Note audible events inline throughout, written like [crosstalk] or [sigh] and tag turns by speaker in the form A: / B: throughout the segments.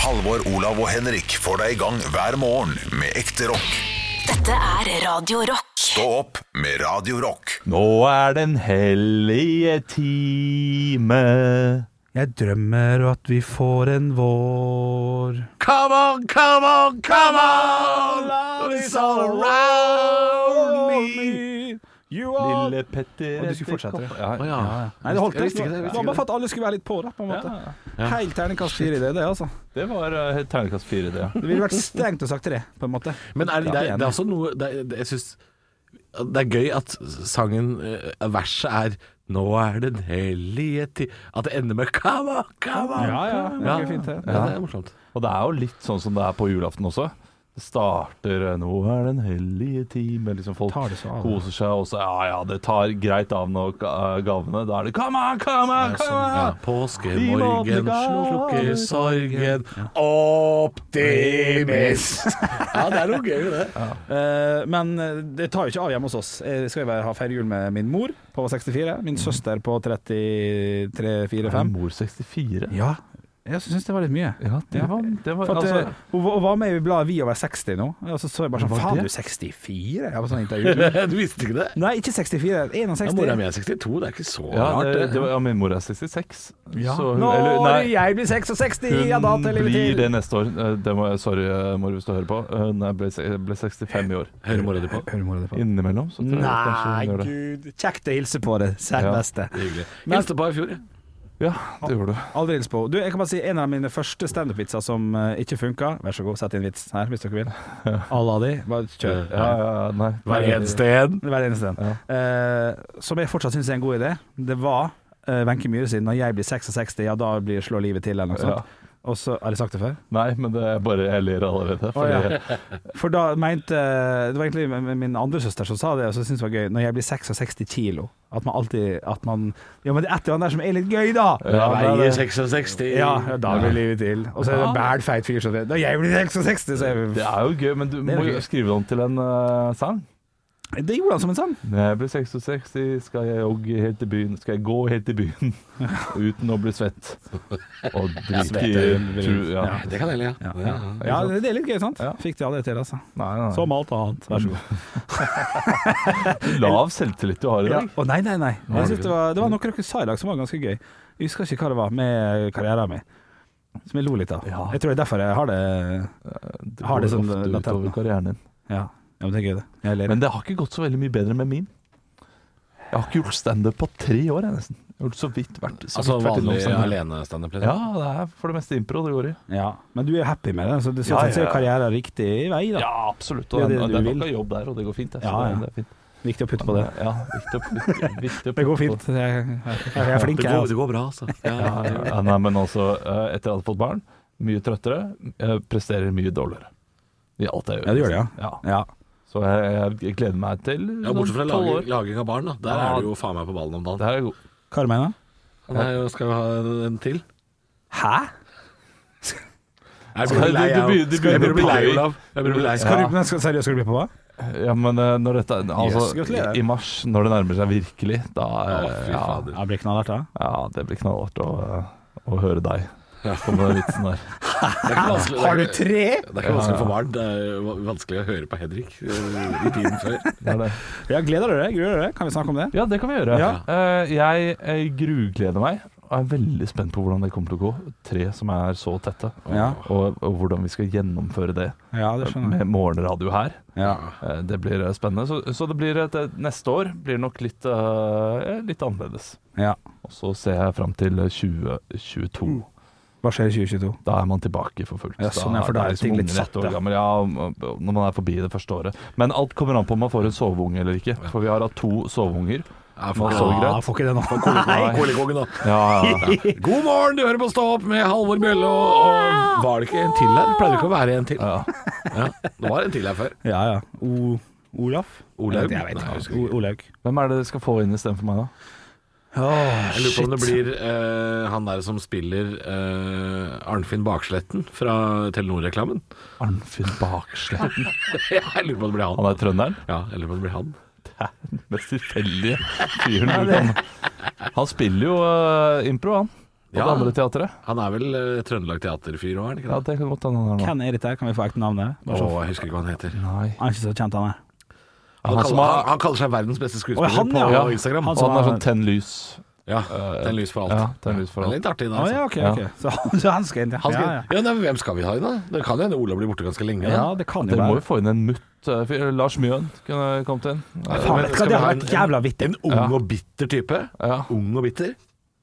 A: Halvor, Olav og Henrik får deg i gang hver morgen med ekte rock.
B: Dette er Radio Rock.
A: Stå opp med Radio Rock.
C: Nå er den hellige time.
D: Jeg drømmer at vi får en vår
C: Come on, come on, come on! Love
D: is all around me.
C: Lille Petter
D: Og du skulle fortsette.
C: etter kopp- Ja,
E: Å,
C: ja.
E: ja.
D: Nei, det holdt
E: Jeg visste
D: ikke.
E: ikke
D: Det
E: det, jeg visste
D: var bare
E: ikke det.
D: for at alle skulle være litt på da, på en måte.
C: Ja.
D: Helt terningkast fire i det, det, altså.
C: Det var eh, terningkast fire, det.
D: Det ville vært strengt å sagt tre, på en måte.
E: Men er, det, det, er, det er også noe det er, det- Jeg synes det er gøy at sangen, eh, verset er Nå er den hellige tid At det ender med kava, kava
D: Ja, ja. Det er fint, det.
E: ja, det er morsomt
C: Og det er jo litt sånn som det er på julaften også. Det starter eh, 'Nå er den hellige time'. Liksom folk
D: Tar det så av.
C: koser seg, og så ja ja, det tar greit av nå eh, gavene. Da er det 'come on, come on,
D: sånn,
C: come on'!
E: ja.
C: Vi
E: Påskemorgen
C: må
E: slukker sorgen Optimist Ja, det er noe gøy med det
D: [laughs] Eh, men det tar jo ikke av hjemme hos oss. Jeg skal jo være- ha feire jul med min mor på 64, min søster på 33-4-5.
C: Mor 64.
D: Ja, jeg syns det var litt mye.
C: Ja, det
D: Ja.
C: var, det var
D: For at,
C: altså,
D: eh, hun, hun var med i bladet Vi over 60 nå, og så så jeg bare sånn
C: Var
D: Faen,
C: det?
D: du er 64? Jeg var sånn
C: [laughs]
D: intervju.
E: Du [laughs] visste ikke det?
D: Nei, ikke 64. 61.
E: Ja, mora mi er 62, det er ikke så
C: ja,
E: rart
C: det, det var, ja, min mor er 66.
D: Ja.
C: Så hun,
D: Når
C: eller, nei,
D: jeg blir 66, ja da
C: hun
D: til
C: blir det
D: livet til.
C: neste år. Eh, Det må jeg, sorry, eh, mor, hvis du hører på. Hun er- ble, se- ble 65 i år.
E: Hører mora di på?
D: Hører mora di på?
C: Innimellom. Så tror jeg kanskje hun
D: Nei,
C: gjør det.
D: gud. Kjekt å hilse på det.
C: Ja.
D: Selveste.
E: Hyggelig Hilste på i fjor, ja
C: Ja, det gjorde du.
D: Aldri hils på. Du, jeg kan bare si en av mine første standup-vitser som eh, ikke funka. Vær så god, sett inn vits her hvis
C: [laughs]
D: dere vil. Alle av de. Bare kjør.
C: Ja, ja, nei.
E: Hver eneste en
D: Hver eneste en. Eh, som jeg fortsatt syns er en god idé, det var eh, Wenche Myhre sin 'Når jeg blir 66, ja da blir slå livet til', eller noe sånt. Og så, Har jeg sagt det før?
C: Nei, men det er bare jeg ler allerede. Fordi,
D: Å, For da mente Det var egentlig min- min andre søster som sa det, og så syntes jeg det var gøy. Når jeg blir 66 kilo At man alltid At man Ja, men det er et eller annet der som er litt gøy, da!
E: Ja,
D: da er
E: veier
D: det-
E: 66
D: ja, ja, da blir livet til. Og så er det en bæl feit fyr som sier Når jeg blir 66, så er
C: Det
D: jeg
C: er jo gøy, men du
D: Det er
C: må
D: gøy.
C: jo skrive det om til en eh, sang.
D: Det gjorde han som en sang.
C: Når jeg blir 66, skal jeg jogge helt til byen. Skal jeg gå helt til
D: [laughs]
C: byen uten å bli svett. Og drikke tru- ja.
E: Ja, det kan jeg le, ja. ja.
D: Ja, det det er litt gøy, sant?
C: Ja.
D: Fikk det aldri til, altså.
C: Nei, nei.
D: Som alt annet. Vær så god.
C: Lav selvtillit du har i
D: Ja.
C: dag.
D: Å, nei, nei, nei. Jeg
C: det
D: synes det, var, det var noe dere sa i dag som var ganske gøy. Jeg husker ikke hva det var med karrieren min, som jeg lo litt av.
C: Ja. Eh,
D: Jeg tror det er derfor jeg har det
C: Det
D: Har det
C: går
D: sånn
C: ofte
D: latent,
C: utover
D: da.
C: karrieren din.
D: Ja, ja men det er gøy, det. Jeg ler.
C: Men det har ikke gått så veldig mye bedre med min. Jeg har ikke gjort standup på tre år, jeg nesten. Jeg har gjort så vidt vært så
E: Altså
C: vidt vært innom
E: vanlig
C: standup.
E: alene-standup?
C: Ja, det er for det meste impro det går i.
D: Ja, men du er happy med det, så det
C: Ja,
D: sånn sett så er
C: ja, ja.
D: karrieren riktig vei, da.
C: Ja, absolutt.
D: Det
C: Og
D: er
C: det,
D: det
C: det
D: du
C: er nok
D: vil.
C: av jobb der, og det går fint. Jeg,
D: Ja,
C: så
D: ja.
C: Det er fint.
D: Viktig å putte på det.
C: Ja, viktig, å-
D: [laughs]
C: viktig, viktig å
D: Det går
C: putte på.
D: fint. Jeg, jeg, jeg er flink,
E: Det
D: jeg.
E: går,
D: Altså.
E: det går bra,
C: [laughs]
E: altså. Ja,
C: Ja, ja, nei, men altså, eh, etter at jeg hadde fått barn, mye trøttere, eh, presterer mye dårligere. I alt jeg gjør.
D: Ja, det gjør det,
C: ja.
D: Ja.
C: Så jeg, jeg gleder meg til
E: Ja, bortsett fra
C: sånn tolv
E: laging,
C: år.
E: laging av barn, da. Der
C: Ja.
E: er du jo faen meg på ballen om dagen.
C: Det her er god.
D: Hva du mener du?
E: Nei, skal vi ha en til?
D: Hæ?
E: Jeg
C: Skal- du- du begynner- du
E: Skal-
C: begynner
E: jeg begynner å bli
C: på
E: lei,
C: lei.
E: Olav. Jeg begynner å bli lei.
D: Skal du, men skal, seriøst, skal du bli på hva?
C: Ja, men eh, når dette Altså,
D: Yes, gratulerer.
C: i- i mars, når det nærmer seg virkelig, da eh,
E: Å, fy
C: ja,
E: fader.
D: Jeg blir knallhardt, da.
C: ja, det blir knallhardt å, eh, å høre deg komme med den vitsen
D: [laughs]
C: der.
E: Det er ikke vanskelig, det er
D: Har du
E: ikke-
D: tre?
E: det er ikke vanskelig for barn. Det er va- vanskelig å høre på Henrik eh, i tiden før.
C: Det er det.
D: Ja, gleder du deg? Gruer du deg? Kan vi snakke om det?
C: Ja, det kan vi gjøre.
D: Ja.
C: Eh, jeg eh, grugleder meg og er veldig spent på hvordan det kommer til å gå. Tre som er så tette,
D: Ja.
C: og, og hvordan vi skal gjennomføre det
D: Ja, det skjønner
C: med
D: jeg.
C: morgenradio her.
D: Ja.
C: Eh, det blir eh, spennende. Så, så det blir et, et, neste år blir det nok litt, eh, litt annerledes.
D: ja.
C: Og så ser jeg fram til 2022.
D: Mm. Hva skjer i 2022?
C: Da er man tilbake for fullt.
D: Ja, sånn, ja, for da er
C: som
D: ting litt
C: unger
D: satt,
C: liksom ett år
D: ja.
C: gammel, ja, om- om- når man er forbi det første året. Men alt kommer an på om man får en soveunge eller ikke. For vi har hatt to soveunger.
E: Ja,
C: Man sover
D: Ah,
C: greit.
D: får ikke det nå.
E: Nei, Kolikongen, da.
C: Ja, ja, ja.
E: God morgen, du hører på Stå opp med Halvor Bjølle og, og Var det ikke en til her? Pleier det ikke å være en til?
C: Ja.
E: Ja, det var en til her før.
D: Ja, ja. O Olaf? Jeg
E: Olaug?
D: vet
E: Nei, jeg husker
D: ikke.
E: ikke.
D: O Olaug.
C: [laughs] Hvem er det dere skal få inn istedenfor meg, da?
D: Åh,
E: Jeg lurer på om det blir eh, han der som spiller eh, Arnfinn Baksletten fra Telenor-reklamen.
D: [laughs]
C: Arnfinn Baksletten.
E: Jeg lurer på om det blir han.
C: Han er trønderen.
E: Ja, jeg lurer på om det blir han.
C: Mest tilfeldige fyren. du kan- Han spiller jo eh, impro, han. Og det andre teatret?
E: Han er vel eh, Trøndelag Teaterfyr òg, er han ikke
C: Ja,
E: det?
C: det kan godt hende han er nå.
D: Hvem er dette? her? Kan vi få ekte navnet? Bare
E: Å,
D: så-
E: jeg husker ikke hva han heter.
C: Nei.
D: Han er ikke så kjent, han er.
E: Han,
C: Han som
E: kaller,
C: har-
E: han, han kaller seg verdens beste skuespiller
D: Å, han, ja.
E: på
C: Ja.
E: Instagram.
D: Han
C: Og han
D: som
C: er
D: har-
C: sånn tenn lys.
E: ja, det er lys for alt.
C: Ja, tenn lys for
E: Det er
C: alt.
E: litt artig, da.
D: Å
E: Altså.
D: Ah, ja, ok,
C: Ja.
D: ok. Så, så han skal inn, ja.
E: Han skal,
D: ja,
E: ja, nei, men hvem skal vi ha inn, da? Det kan jo hende Ola blir borte ganske lenge.
D: ja.
E: Da.
D: ja, det kan jo
C: Dere må
D: være.
C: jo få inn en mutt. eh, fyr. Lars Mjøen kunne kommet inn. Eh,
D: Faen,
E: Men
D: vet du hva,
E: skal vi
D: det
E: ha
D: hadde
E: en-
D: vært jævla vittig.
E: En ung og bitter type.
C: Ja.
E: Ung og bitter.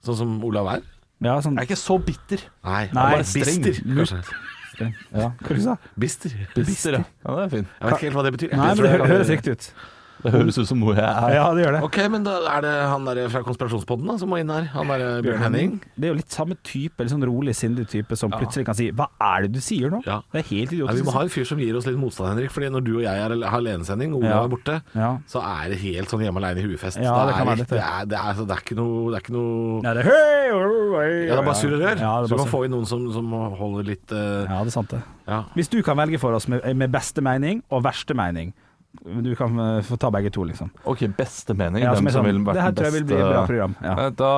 E: Sånn som Olav er.
D: Ja, sånn
C: Jeg er ikke så bitter.
E: Nei, han
D: Nei,
E: er
D: streng.
E: bister. Kanskje.
C: Ja.
D: Hva du sa du?
E: Bister.
C: Bister, ja. ja. Det er fint.
E: Jeg vet ikke helt hva det betyr.
D: Nei, men det hø- høres riktig ut.
C: Det høres ut som noe jeg er.
D: Ja, det gjør det.
E: Ok, men da er det han der fra Konspirasjonspodden da, som må inn her. Han der eh, Bjørn Henning.
D: Det er jo litt samme type, litt sånn rolig, sindig type, som plutselig kan si 'hva er det du sier nå?'
E: Ja.
D: Det er helt
E: Nei, vi
D: idiotisk.
E: må ha en fyr som gir oss litt motstand, Henrik. Fordi når du og jeg er, har alenesending, og Ola
D: Ja.
E: er borte,
D: Ja.
E: så er det helt sånn hjemme aleine i huefest.
D: Ja, det
E: er
D: kan være
E: helt-
D: litt,
E: det,
D: det.
E: er, det, er, altså, det er ikke noe, det er ikke noe
D: Ja, det er «Hei, oi, oi, oi».
E: ja, det er bare surr og rør.
D: Ja, det er
E: så du
D: bare
E: må
D: surr.
E: få inn noen som, som holder litt eh,
D: Ja, det er sant, det.
E: ja.
D: Hvis du kan velge for oss med, med beste mening og verste mening Du kan eh, få ta begge to, liksom.
C: Ok, beste mening.
D: Ja, som
C: Hvem
D: er
C: som
D: sånn,
C: ville vært
D: det her
C: den
D: tror jeg vil bli
C: beste-
D: et bra program, ja.
C: Eh, Da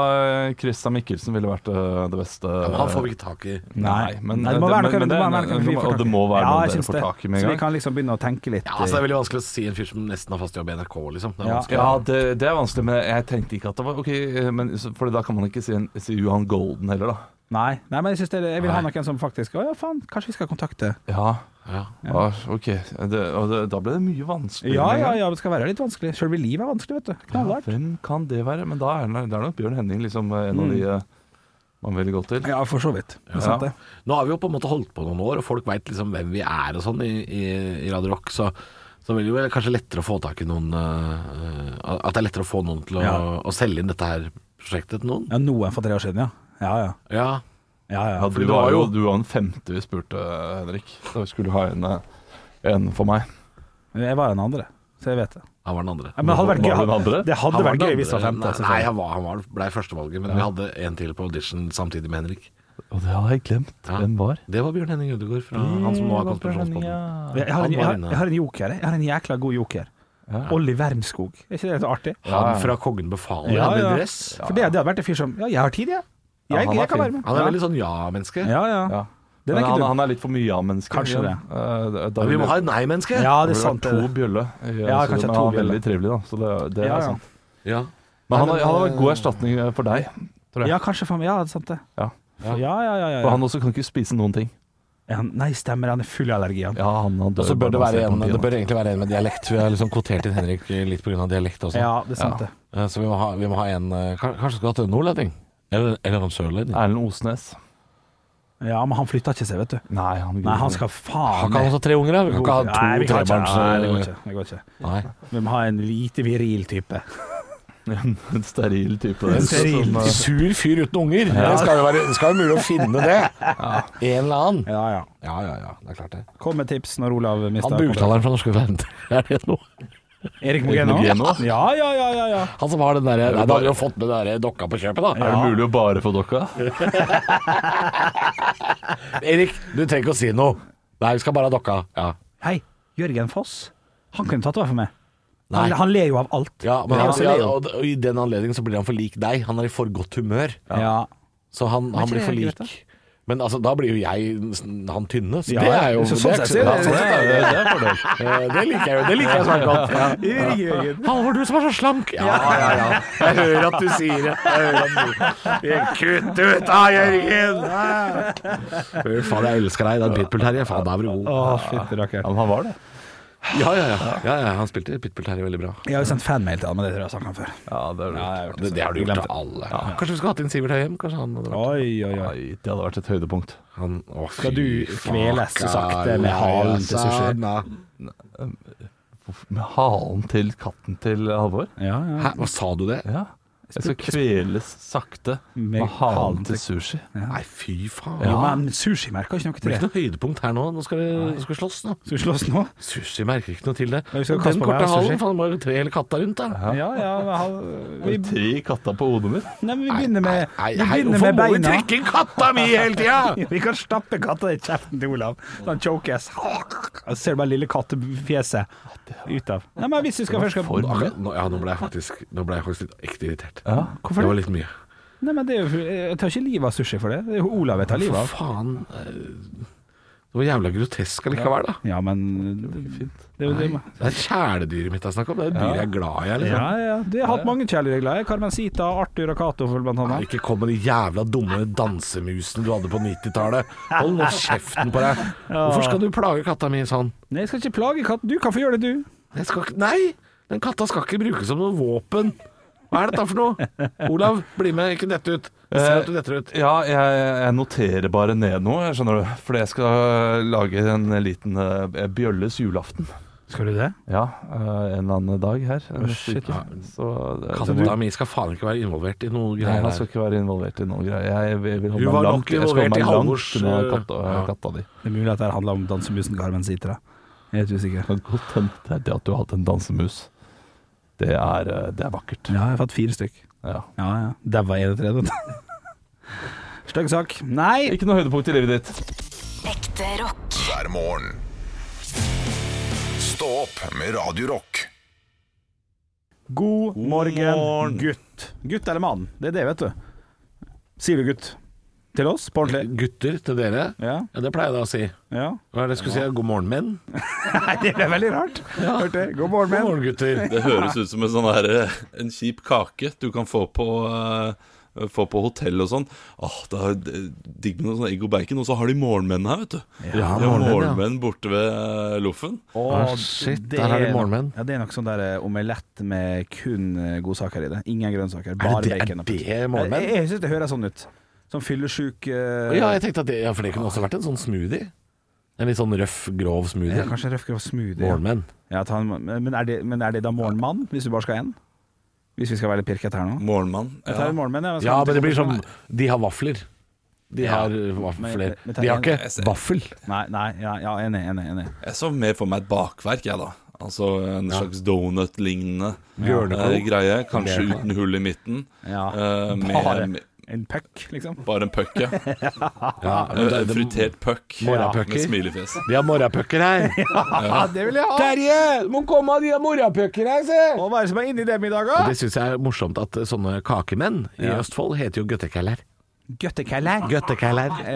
C: eh, Christian Mikkelsen ville vært eh, det beste.
E: Men Han får vi ikke tak i.
C: Nei, men
D: det må være noe,
C: men- men
D: det,
C: det-
D: må være noe
C: men-
D: vi
C: og
D: får tak i.
C: det må være
D: ja,
C: noe
D: jeg
C: dere
D: syns
C: får
D: det.
C: tak i med en
D: Så
C: gang.
D: vi kan liksom begynne å tenke litt.
E: Ja, altså, det er veldig vanskelig å si en fyr som nesten har fast jobb i NRK, liksom. Det er
D: Ja.
E: vanskelig.
C: Ja, det, det er vanskelig, men jeg tenkte ikke at det var Ok, eh, men, så- for da kan man ikke si, en, si Johan Golden heller, da.
D: Nei, nei, men jeg, synes det, er- jeg vil ha
E: Nei.
D: noen som faktisk Å ja, faen, kanskje vi skal kontakte
C: Ja,
E: Ja.
C: ah, ok. Det, og det, da ble det mye vanskeligere.
D: Ja,
C: med en
D: ja,
C: gang.
D: ja, det skal være litt vanskelig. Sjølve livet er vanskelig, vet du.
C: Ja,
D: Knallhardt.
C: Hvem kan det være? Men da er det, det er nok Bjørn Henning liksom, eh, en av de eh, man ville gått til.
D: Mm. Ja, for så vidt. Det er sant, det.
E: Nå har vi jo på en måte holdt på noen år, og folk veit liksom hvem vi er og sånn i, i, i Radio Rock, så så blir det jo kanskje lettere å få tak i noen eh, eh, At det er lettere å få noen til å,
D: Ja.
E: å selge inn dette her prosjektet til noen.
D: Ja, noen for tre år siden, ja. Ja, ja.
E: Ja,
D: ja, ja.
C: Ja, du,
E: det var
C: var jo,
E: jo-
C: du var den femte vi spurte, eh, Henrik. Da vi skulle ha en, eh, en for meg.
D: Jeg var den andre, så jeg vet det.
E: han var den andre.
D: Ja, men det hadde vært
C: Var
D: gøy.
C: du den andre?
D: Det hadde
E: Han var
D: vært
E: den
D: gøy hvis det var
E: andre.
D: femte. altså,
E: Nei,
D: selvfølgelig.
E: han, var, han var, ble førstevalget, men vi hadde en til på audition samtidig med Henrik.
C: Og det hadde jeg glemt.
E: Ja.
C: Hvem var?
E: Det var Bjørn Henning Ødegaard, fra han som nå har konspirasjonspodden.
D: Jeg har, en,
E: Han var
D: jeg, har,
E: inne.
D: jeg har en joker, jeg. Jeg har en jækla god joker. Olli Wermskog. Er ikke det litt artig?
E: Han fra Kongen befaler,
D: Ja,
E: han med
D: ja.
E: dress.
D: For det, det hadde vært en fyr som Ja, jeg har tid, jeg.
C: Ja,
D: Jeg,
C: han var
D: jeg kan
C: fin.
D: være med.
E: Han er
D: Ja.
E: veldig sånn ja-menneske.
D: Ja, ja.
C: Ja.
D: Den er
C: Men
D: ikke
C: han,
D: dum.
C: han er litt for mye ja-menneske.
D: Kanskje det.
E: Ja, vi må ha et nei-menneske.
D: Ja,
C: det
D: det er sant.
C: To
D: det.
C: bjølle. i-
D: Ja,
C: så-
D: kanskje
C: men
D: to
C: han er
D: bjølle.
C: veldig trivelig, da. Så det, det
D: Ja,
C: er
D: ja.
C: sant.
E: Ja.
C: Men han,
E: Nei, men,
C: han har vært
E: eh,
C: god erstatning eh, for deg. Tror jeg.
D: Ja, kanskje faen meg. Ja, det er sant det.
C: Ja.
D: Ja, ja, ja. ja,
C: For
D: ja.
C: han også kan ikke spise noen ting.
D: Er han- Nei, stemmer. Han er full av allergi, han.
C: Ja, han, han dør
E: Og så bør
C: bare
E: det,
C: man
E: være
C: ser på
E: en,
C: den
E: det
C: tiden.
E: bør egentlig være en med dialekt. Vi har liksom kvotert inn Henrik litt pga. dialekt også.
D: Ja, det er sant, det.
E: Eh, Så vi må ha, vi må ha en eh, kan- Kanskje skal vi ha til en nordlending? Eller, eller en sørlending?
C: Erlend Osnes.
D: Ja, men han flytter ikke seg, vet du.
C: Nei, han,
D: Nei, han skal
E: Har
D: faen
E: ikke han også tre unger, da? Vi kan ikke ha to
D: Nei, vi kan ikke.
E: trebarns... eh,
D: Nei, det går ikke. Det går ikke.
E: Nei.
D: Vi må ha en lite viril type.
C: En steril type.
D: En steril
C: Som, eh,
E: Sur fyr uten unger. Det skal jo være det skal jo mulig å finne det. En eller annen.
D: Ja, ja.
E: Ja, ja, ja. Det er klart det.
D: Kom med tips når Olav mister
E: Han buktaleren fra Norske Talenter, [laughs] er det noe?
D: Erik Mogeno?
C: Mogeno?
D: Ja, ja, ja, ja, ja.
E: Han som har den derre Nei, da hadde vi jo fått med den der dokka på kjøpet, da.
C: Er det mulig å bare få dokka?
E: Erik, du trenger ikke å si noe. Nei, vi skal bare ha dokka. Ja.
D: Hei, Jørgen Foss. Han kunne tatt over for meg.
E: Nei.
D: Han, han ler jo av alt.
E: Ja, men
D: Ja,
E: han,
D: så
E: ja,
D: ler jo.
E: og, og i den anledning så blir han for lik deg. Han er i for godt humør,
D: Ja.
E: så han,
D: ikke
E: han blir
D: det
E: for
D: greit,
E: lik.
D: da?
E: Men altså, da blir jo jeg s- han tynne, så
D: Ja,
E: det er jo
D: så sånn
E: det, er
D: sett
E: ikke
D: er det-
E: så-
C: Ja, det, det er fordel.
E: Eh, det liker jeg jo. Det liker jeg svært godt. Ja.
D: Jørgen.
E: Halvor, du som er så slank. Ja, ja, ja. Jeg hører at du sier det. Jeg hører at du sier det. Kutt ut da, Jørgen! Fy faen, jeg elsker deg. Det er pitbull her. Faen, da er du god.
D: Å, fytti
C: Ja,
D: rakker.
C: men han var det.
E: Ja, ja, ja. ja, ja han spilte pitbull her veldig bra.
D: Jeg har jo sendt fanmail til han, men det tror jeg jeg har sagt han før.
C: Ja, det er det.
E: Det, det har du gjort til alle. Kanskje vi skulle hatt inn Sivert Høyem? Kanskje han hadde vært
D: Oi, oi, oi.
C: Nei, det hadde vært et høydepunkt.
E: han, å, fy
D: Skal du
E: faen,
D: kveles så sakte med
E: ja,
D: halen til
E: ja,
D: sushi?
E: sanna.
C: Med halen til katten til Halvor?
D: Ja, ja.
E: Hæ, hva sa du det?
C: Ja. Jeg skal kveles sakte med halen til sushi.
E: Nei, fy faen.
D: Jo,
E: Det
D: men sushi merker ikke noe til
E: blir
D: det.
E: ikke noe høydepunkt her nå. Nå skal vi, nå skal vi slåss nå.
D: Skal vi slåss nå?
E: Sushi merker ikke noe til det.
D: vi skal
E: Og
D: kaste
E: Den
D: på hver
E: korte
D: sushi.
E: halen, faen, det må jo tre hele katta rundt da.
D: Ja, ja. men han, vi,
C: Tre katter på hodet mitt?
D: nei, men vi begynner med, vi
E: Nei, hei,
D: begynner med
E: hvorfor må vi
D: beina.
E: trekke inn katta mi hele tida?!
D: [laughs] Vi kan stappe katta i kjeften til Olav, så han chokes. [laughs] Og så ser du bare lille kattefjeset ut av. Nei, men hvis vi skal først skal
E: Nå- akkurat- nå- Ja, nå ble jeg faktisk Nå ble jeg faktisk litt ekte irritert.
C: Ja,
E: Det
D: Hvorfor
E: var
D: det?
E: litt mye.
D: Nei, men det er jo, Jeg tar ikke livet av sushi for det. Det er jo Olav jeg tar livet
E: For
D: av.
E: faen. eh, Det var jævla grotesk allikevel, da.
D: Ja, men Fint. Det er jo det
E: Nei, Det er kjæledyret mitt jeg snakker om. Det er jo dyr jeg er glad i. Liksom.
D: Ja, ja. Du har hatt mange kjæledyr. Carmencita, Arthur og Cato, for blant
E: Nei,
D: annet.
E: Ikke kom med de jævla dumme dansemusene du hadde på 90-tallet. Hold nå kjeften på deg. Hvorfor skal du plage katta mi sånn?
D: Nei, jeg skal ikke plage katten. Du kan få gjøre det, du.
E: Jeg skal ikke, nei! Den katta skal ikke brukes som noe våpen. Hva er dette for noe? Olav, bli med, ikke dette ut. Jeg ser at du detter ut.
C: Ja, jeg, jeg noterer bare ned noe, jeg skjønner du. Fordi jeg skal øh, lage en liten eh, Bjølles julaften.
D: Skal du det?
C: Ja, eh, en eller annen dag her. neste
D: shit.
C: uke. Så øh, det,
E: Katta mi skal faen ikke være involvert i noe
C: Nei,
E: greier.
C: han skal ikke være involvert i noen greier. Jeg vil holde
E: Du
C: meg
E: var nok
C: langt, jeg skal holde
E: involvert i
C: meg langt
E: Halvors,
C: unna
E: øh,
C: katta,
E: ja.
C: katta di.
D: Det er mulig at det handler om dansemusen Carmencita. Jeg er helt usikker.
C: Kan godt hende det er det at du har hatt en dansemus. Det er, eh, det er vakkert.
D: Ja, jeg har fått fire stykk.
C: Ja.
D: Ja, ja. Daua i det tredje. [laughs] Stygg sak. Nei!
C: Ikke noe høydepunkt i livet ditt.
B: Ekte rock.
A: hver morgen. Stå opp med Radio Rock.
D: God morgen,
C: morgen.
D: gutt. Gutt eller mann. Det er det, vet du. Sier du gutt til oss på ordentlig?
E: Gutter til dere,
D: Ja.
E: ja, det pleier jeg da å si.
D: ja. [laughs]
E: Hva er det jeg skulle si? God morgen, menn?
D: Nei, det ble veldig rart. Hørte jeg. God morgen,
E: God
D: menn.
E: morgen, gutter.
F: Det høres ut som en sånn her, eh, En kjip kake du kan få på eh, få på hotell og sånn. Åh, det er digg med noe sånn egg og bacon. Og så har de morgenmenn her, vet du.
E: Ja,
F: de har
E: morgenmenn, ja.
F: morgenmenn borte ved eh, loffen.
D: Å,
E: Ah, shit,
D: det
E: der er det
D: nok-
E: morgenmenn.
D: Ja, det er nok sånn der eh, omelett med kun eh, godsaker i det. Ingen grønnsaker,
E: Er
D: bare
E: det,
D: bacon.
E: er
D: og
E: det
D: pølse.
E: morgenmenn?
D: Jeg, jeg syns det høres sånn ut. Sånn fyllesyk eh,
E: [laughs] Ja, jeg tenkte at det, ja, for det kunne også vært en sånn smoothie. En litt sånn røff, grov smoothie.
D: ja, Kanskje røff og smoothie. ja.
E: Morgenmenn.
D: Ja, ta en, men, er det, men er det da morgenmann, hvis du bare skal ha én? Hvis vi skal være litt pirket her nå?
F: Morgenmann.
D: Jeg tar en
F: Ja.
D: morgenmenn, jeg.
E: Ja, men det blir sånn- som De har vafler. De har vafler.
D: men- men tar
E: De har
D: en-
F: Jeg
E: ikke
F: ser-
E: vaffel.
D: Nei, nei, ja, ja enig, enig. enig.
F: Jeg så mer for meg et bakverk, jeg, da. Altså en slags donut-lignende eh,
E: Bjørneklo.
F: greie. Kanskje
E: Bjørneklo.
F: uten hull i midten.
D: Ja.
F: Eh,
D: Bare.
F: med, med
D: En puck, liksom.
F: bare en puck, ja.
E: Ja, men
F: Eh,
E: det- det-
F: Fritert puck
E: Morrapucker.
F: med smilefjes.
E: de har morrapucker [laughs] her.
D: Ja, [laughs] det vil jeg ha!
E: Terje, må komme av de har morrapucker her, se!
D: Og hva er det som er inni dem i dag,
E: Og
D: da?
E: det syns jeg er morsomt at sånne kakemenn i Østfold heter jo gøttekæller.
D: Gøttekæller.
E: Gøttekæller.
D: Ja,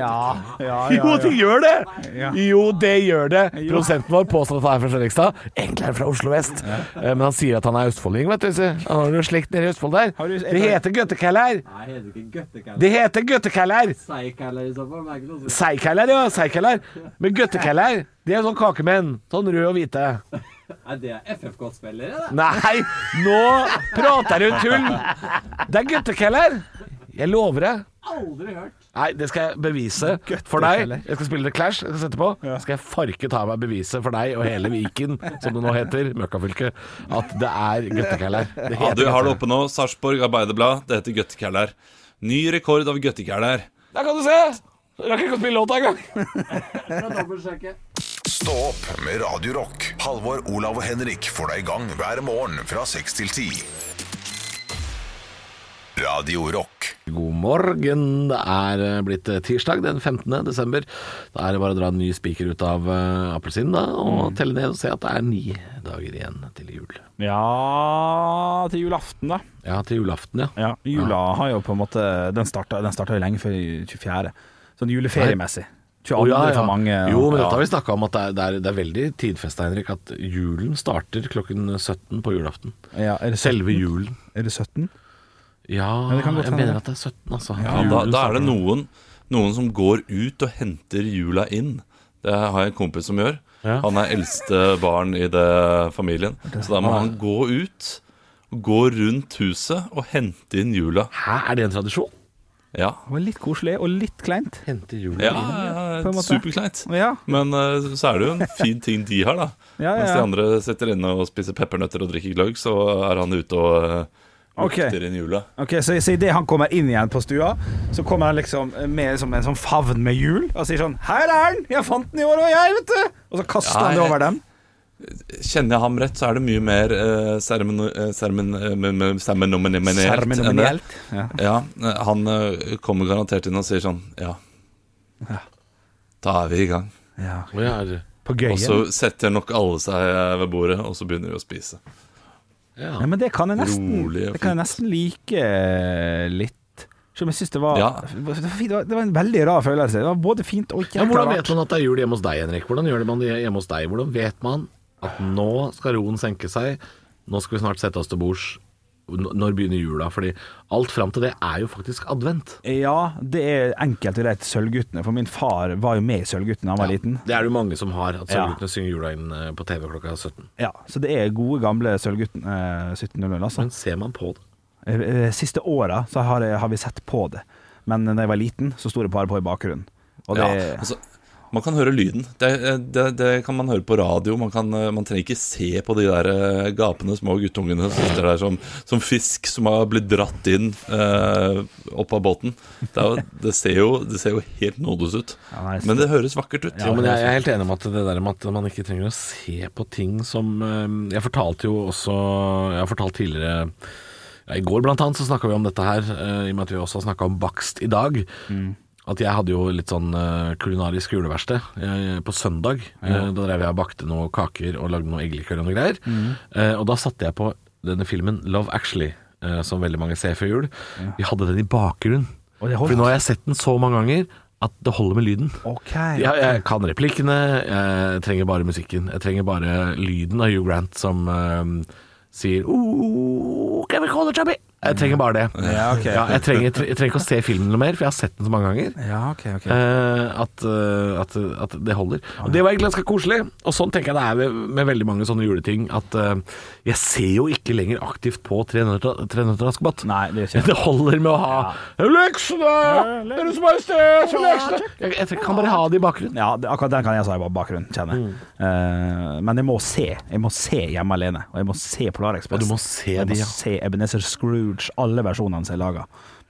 D: ja, ja,
E: [laughs] Jo, de
D: ja.
E: gjør det!
D: Ja.
E: Jo, det gjør det.
D: Jo.
E: Prosenten vår påstår at han er fra Fredrikstad. Egentlig er han fra Oslo vest. Eh, Men han sier at han er østfolding, vet du. så Han har noe slekt nede i Østfold der.
D: Har du-
E: Det heter gøttekæller.
G: Nei, heter det ikke
E: Det
G: gøttekæller?
E: heter gøttekæller.
G: Seigkæller i så fall, men det er ikke noe sånt.
E: Seigkæller, ja. Seigkæller. Men gøttekæller, de er sånn kakemenn. Sånn rød og hvite.
G: [laughs] Nei, det er FFK-spillere, det.
E: Nei, nå prater du tull! Det er gøttekæller. Jeg lover deg.
G: Aldri hørt.
E: Nei, det skal jeg bevise for deg. Jeg skal spille The Clash jeg skal sette på.
D: Ja.
E: skal jeg farke ta meg beviset for deg og hele Viken, som det nå heter, Møkkafylke, at det er gøttekæller. Det heter
F: Ja, du har det
E: gøttekæller.
F: oppe nå. Sarpsborg Arbeiderblad. Det heter Gøttekæller. Ny rekord av Gøttekæller.
E: Der kan du se! Rakk ikke å spille låta engang.
G: Fra dobbeltsjekket.
A: Stå opp med Radio Rock. Halvor, Olav og Henrik får deg i gang hver morgen fra 6 til 10. Radio Rock.
E: God morgen. Det er eh, blitt eh, tirsdag den 15. desember. Da er det bare å dra en ny spiker ut av eh, appelsinen da, og telle ned og se at det er ni dager igjen til jul.
D: ja til julaften, da.
E: Ja, til julaften, ja.
D: Ja, Jula har jo på en måte Den starta, den starta jo lenge før 24. Sånn juleferiemessig. 22.
E: Å, ja, ja.
D: for mange. og-
E: jo, men dette
D: ja.
E: har vi snakka om, at det er, det er, det er veldig tidfesta, Henrik, at julen starter klokken 17 på julaften.
D: Ja, er, det 17?
E: Selve julen.
D: er det 17?
E: Ja,
D: Ja, det kan godt
E: jeg
D: hende.
E: mener at det er 17, altså.
F: Ja, da, da er det noen, noen som går ut og henter jula inn. Det har jeg en kompis som gjør.
E: Ja.
F: Han er eldste barn i det familien. Så da må han gå ut, gå rundt huset og hente inn jula.
E: Hæ, er det en tradisjon?
F: Ja,
D: Det var litt koselig og litt kleint.
E: Hente julen
F: ja,
E: inn?
D: på
F: ja
D: en måte.
F: superkleint.
D: Ja,
F: Men eh, så er det jo en fin ting de har, da.
D: Ja, ja,
F: Mens
D: ja.
F: de andre sitter inne og spiser peppernøtter og drikker gløgg, så er han ute og uh,
D: Ok.
F: lukter inn jula.
D: ok, Så, så idet han kommer inn igjen på stua, så kommer han liksom med liksom en sånn favn med jul og sier sånn 'Her er den! Jeg fant den i år, og jeg, vet du!' Og så kaster
F: Ja,
D: han det
F: jeg-
D: over dem.
F: Kjenner jeg ham rett, så er det mye mer eh, seremoni- eh, seremen- eh, men- men- seremonimenielt enn det.
D: Seremonielt. Ja.
F: Ja, eh, han eh, kommer garantert inn og sier sånn Ja, da er vi i gang.
D: Ja.
E: Å, ja, er det-
D: På
F: Og
D: gøyen.
F: så setter nok alle seg eh, ved bordet, og så begynner vi å spise.
E: ja.
D: Ja, men det kan jeg nesten,
F: Rolig og
D: det kan jeg nesten
F: fint.
D: like litt. Selv om jeg synes det var,
F: Ja.
D: det, var fint, det var det var en veldig rar følelse. Det var både fint og
E: Ja,
D: jækla
E: hvordan
D: rart.
E: vet man at det er jul hjemme hos deg, Henrik? Hvordan gjør det man det hjemme hos deg? Hvordan vet man at nå skal roen senke seg, nå skal vi snart sette oss til bords? N- Når begynner jula? Fordi alt fram til det er jo faktisk advent.
D: Ja, det er enkelt og greit Sølvguttene, for min far var jo med i Sølvguttene da han var liten.
E: Det er det jo mange som har, at
D: Ja.
E: sølvguttene synger jula inn eh, på TV klokka 17.
D: Ja, Så det er gode, gamle Sølvgutten eh, 1700, altså.
E: Men ser man på det?
D: Eh, eh, Siste åra så har, jeg- har vi sett på det, men eh, da jeg var liten, så sto det bare på i bakgrunnen. Og det,
F: Ja, altså, man kan høre lyden. Det, det, det kan man høre på radio. Man, kan, eh, man trenger ikke se på de der eh, gapende små guttungene som sitter der som, som fisk som har blitt dratt inn eh, opp av båten. Det, er, jo- det, ser jo, det ser jo helt nådeløs ut.
D: Ja, nei, så-
F: Men det høres vakkert ut.
E: Ja, men jeg, jeg er helt enig om at det der med at man ikke trenger å se på ting som eh, Jeg fortalte jo også Jeg har fortalt tidligere ja, I går blant annet så snakka vi om dette her, eh, i og med at vi også har snakka om bakst i dag. At jeg hadde jo litt sånn eh, kulinarisk juleverksted eh, på søndag. Eh, da drev jeg og bakte noen kaker og lagde noe eggelikør og noe greier. Eh, og da satte jeg på denne filmen Love Actually, eh, som veldig mange ser før jul. Vi hadde den i bakgrunnen.
D: Og det holdt.
E: For nå har jeg sett den så mange ganger at det holder med lyden.
D: OK.
E: Ja, jeg kan replikkene, jeg trenger bare musikken. Jeg trenger bare lyden av Hugh Grant som eh, sier «Ooh, Can we call it chubby?» Jeg trenger bare det.
D: Ja, ok.
E: Ja, jeg, trenger, jeg trenger ikke å se filmen noe mer, for jeg har sett den så mange ganger.
D: Ja, ok, ok.
E: eh, at, eh, at, at det holder. Og det var egentlig ganske koselig. Og sånn tenker jeg det er med, med veldig mange sånne juleting. At eh, jeg ser jo ikke lenger aktivt på Tre nøtter Tre nøtter til Askepott.
D: Nei, det gjør ikke jeg.
E: Det holder med å ha Leksene! Deres Majestet! Leksene! Jeg, jeg trenger- kan bare ha det i bakgrunnen.
D: Ja, det, akkurat den kan jeg si på bakgrunnen, kjenner jeg. Eh, men jeg må se. Jeg må se Hjemme alene, og jeg må se Polar Express.
E: Og du må se
D: jeg
E: de,
D: må
E: ja.
D: se Ebenezer Scrooge, alle versjonene som er laga.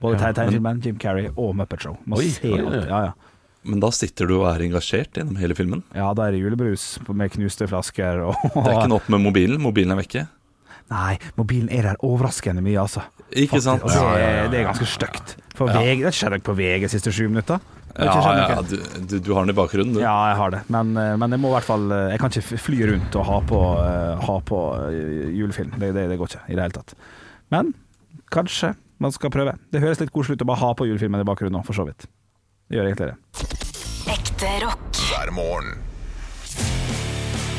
D: Både Tegnefilmen, Jim Carrey og Muppet Show. Må
E: Oi,
D: se
E: oi, oi.
D: alt. Ja, ja.
F: Men da sitter du og er engasjert gjennom hele filmen.
D: ja, da er det julebrus med knuste flasker og
F: Det er ikke nok med mobilen. Mobilen er vekke.
D: [laughs] Nei, mobilen er der overraskende mye, altså.
F: Ikke sant?
D: Og det, er- det er ganske stygt. For VG, det skjer ikke på VG siste sju minutter. Det
F: Ja,
D: skjer
F: ja,
D: ikke.
F: ja du, du, du har den i bakgrunnen, du.
D: Ja, jeg har det, men, eh, men jeg må i hvert fall Jeg kan ikke fly rundt og ha på, eh, ha på eh, julefilm. Det, det, det går ikke i det hele tatt. Men kanskje man skal prøve. Det høres litt koselig ut å bare ha på julefilmen i bakgrunnen nå, for så vidt. Det gjør egentlig det.
B: Ekte rock.
A: hver morgen.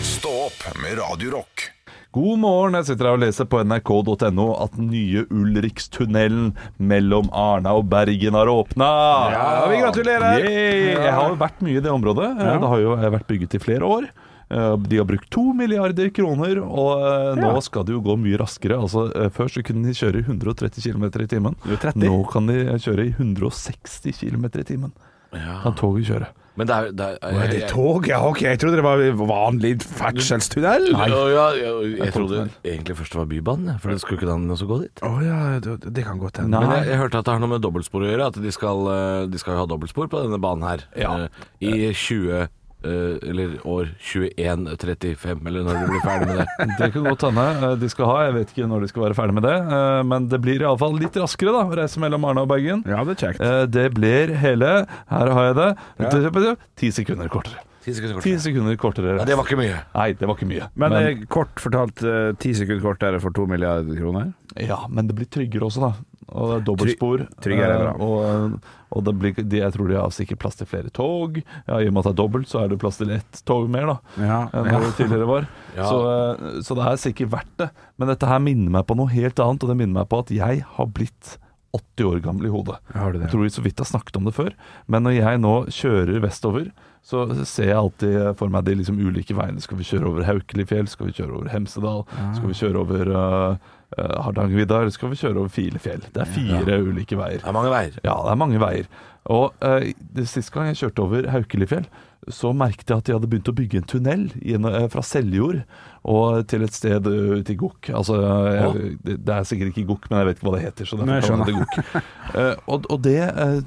A: Stå opp med Radio Rock.
C: God morgen, jeg sitter her og leser på nrk.no at den nye Ulrikstunnelen mellom Arna og Bergen har åpna. Ja, vi gratulerer! Jeg har jo vært mye i det området. Eh, Det har jo vært bygget i flere år. Eh, De har brukt to milliarder kroner, og eh, nå skal det jo gå mye raskere. Altså, før så kunne de kjøre i 130 km i timen.
D: 130?
C: Nå kan de eh, kjøre i 160 km i timen. Kan toget kjøre.
E: Men det er, det er,
D: Er det tog? Ja, ok. Jeg trodde det var vanlig ferdselstunnel.
E: Nei.
D: Å
E: Ja, ja, jeg, jeg trodde
C: tolv
E: egentlig først det var Bybanen, jeg, for det skulle ikke den også gå dit.
D: ja, det, det kan godt hende.
E: Men
C: Nei.
E: jeg, jeg hørte at det har noe med dobbeltspor å gjøre, at de skal, eh, de skal jo ha dobbeltspor på denne banen her. eh, I 20 eh, eller år 2135, eller når de blir ferdig med det.
C: Det kan godt hende eh, de skal ha. Jeg vet ikke når de skal være ferdig med det. eh, Men det blir iallfall litt raskere da, å reise mellom Arna og Bergen.
D: Ja, det er kjekt.
C: Eh, Det blir hele Her har jeg det. Det- Ti sekunder kortere.
E: Ti
C: [laughs]
E: sekunder
C: Ti
E: kort.
C: sekunder kortere.
E: Ja, det var ikke mye.
C: Nei, det var ikke mye.
D: Men, eh, kort fortalt, eh, ti sekunder kortere for to milliarder kroner.
C: ja, men det blir tryggere også, da. Og det er dobbeltspor.
D: Try- tryggere er bra.
C: eh, Og, eh, og det blir, de, jeg tror de har sikkert plass til flere tog. Ja, I og med at det er dobbelt, så er det plass til ett tog mer, da.
D: Ja,
C: enn det tidligere
D: [laughs]
C: var.
E: Ja.
C: Så, eh, så det er sikkert verdt det. Men dette her minner meg på noe helt annet, og det minner meg på at jeg har blitt 80 år gammel i hodet.
D: Har du det?
C: Jeg tror vi så vidt har snakket om det før, men når jeg nå kjører vestover, så ser jeg alltid for meg de liksom ulike veiene. Skal vi kjøre over Haukelifjell? Skal vi kjøre over Hemsedal? Skal
D: Ah.
C: vi kjøre over eh, eh, Hardangervidda? Eller skal vi kjøre over Filefjell? Det er fire ulike veier.
E: Det er mange veier.
C: Ja, det er mange veier. Og eh, det Sist gang jeg kjørte over Haukelifjell, så merket jeg at de hadde begynt å bygge en tunnel gjennom, eh, fra Seljord og til et sted eh, ute i Gokk. Altså, jeg, det, det er sikkert ikke Gokk, men jeg vet ikke hva det heter. Så
D: Nei, jeg
C: derfor kaller jeg det Gokk. Eh, og og det, eh,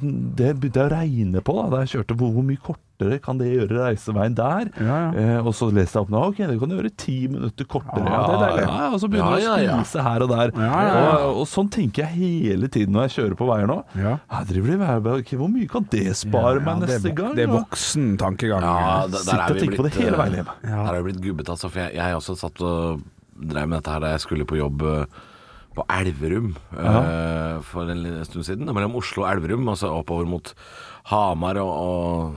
C: det begynte jeg å regne på da, da jeg kjørte. Hvor, hvor mye kortere kan det gjøre reiseveien der?
D: Ja, ja.
C: Eh, og så leste jeg opp nå, ok, det kan du gjøre ti minutter kortere.
D: Ja, det er deilig.
C: ja, ja, og så begynner du
E: Ja, ja, ja.
C: å spise her og der.
D: Ja, ja, ja.
C: Og, og sånn tenker jeg hele tiden når jeg kjører på veier nå.
D: Ja.
C: Her driver de med- ok, Hvor mye kan det spare meg
D: det er
C: neste
D: vok-
C: gang?
D: Det er
C: da?
D: voksen tankegang.
E: Ja, d-
C: Sitter og tenker på det hele
E: eh,
C: veien hjemme.
E: Der har jeg blitt gubbet, altså. For jeg, jeg også satt og drev med dette her da jeg skulle på jobb eh, på Elverum eh, for en liten stund siden. Mellom Oslo og Elverum, altså oppover mot Hamar og,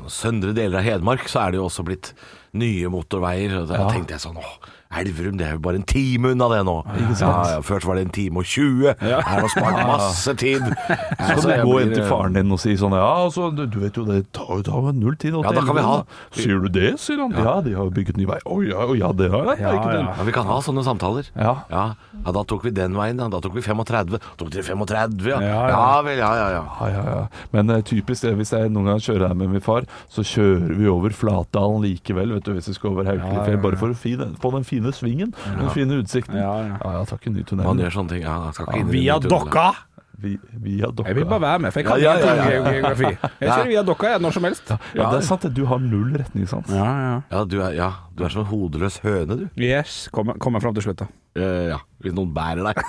E: og søndre deler av Hedmark, så er det jo også blitt nye motorveier. Og da tenkte jeg sånn åh, Elverum, det er jo bare en time unna det nå. Ja, ja, Først var det en time og 20. Her har man spart masse tid.
C: Så
E: Altså,
C: kan
E: jeg
C: du gå
E: blir-
C: inn til faren din og si sånn Ja, altså, du, du vet jo det tar jo tar jo null tid. å
E: Ja, da
C: til
E: kan vi
C: Elverum,
E: ha-
C: da. Sier du det, sier han. Ja, de har jo bygget ny vei. Å ja, å, ja, det har de. Ja, ikke
E: Ja, vi kan ha sånne samtaler.
C: Ja.
E: Ja, ja da tok vi den veien, da. Da tok vi 35. Tok dere 35, ja?
D: Ja, ja.
E: vel, ja, ja, ja.
C: Ja, ja, ja. Men eh, typisk det, hvis jeg noen gang kjører her med min far, så kjører vi over Flatdalen likevel, vet du, hvis vi skal over Haukelifjell, bare for å fi den, få den fine svingen, den fine utsikten. Ja,
D: Ja, ja.
C: ja. takk en ny
E: Man
C: tunnel.
E: gjør sånne ting. Ja, jeg skal ikke inn i
D: Via
E: den tunnelen.
D: dokka!
C: Vi, via dokka.
D: Jeg vil bare være med, for jeg kan
E: Ja, ja,
D: ingenting
E: ja, ja.
D: om geografi. Jeg kjører via dokka jeg, når som helst.
C: Ja, det er sant det. Du har null retningssans.
D: Ja, ja.
E: Ja, du er, ja, du er som en hodeløs høne, du.
D: Yes, kommer kom fram til slutt, da.
E: Eh, ja, hvis noen bærer deg.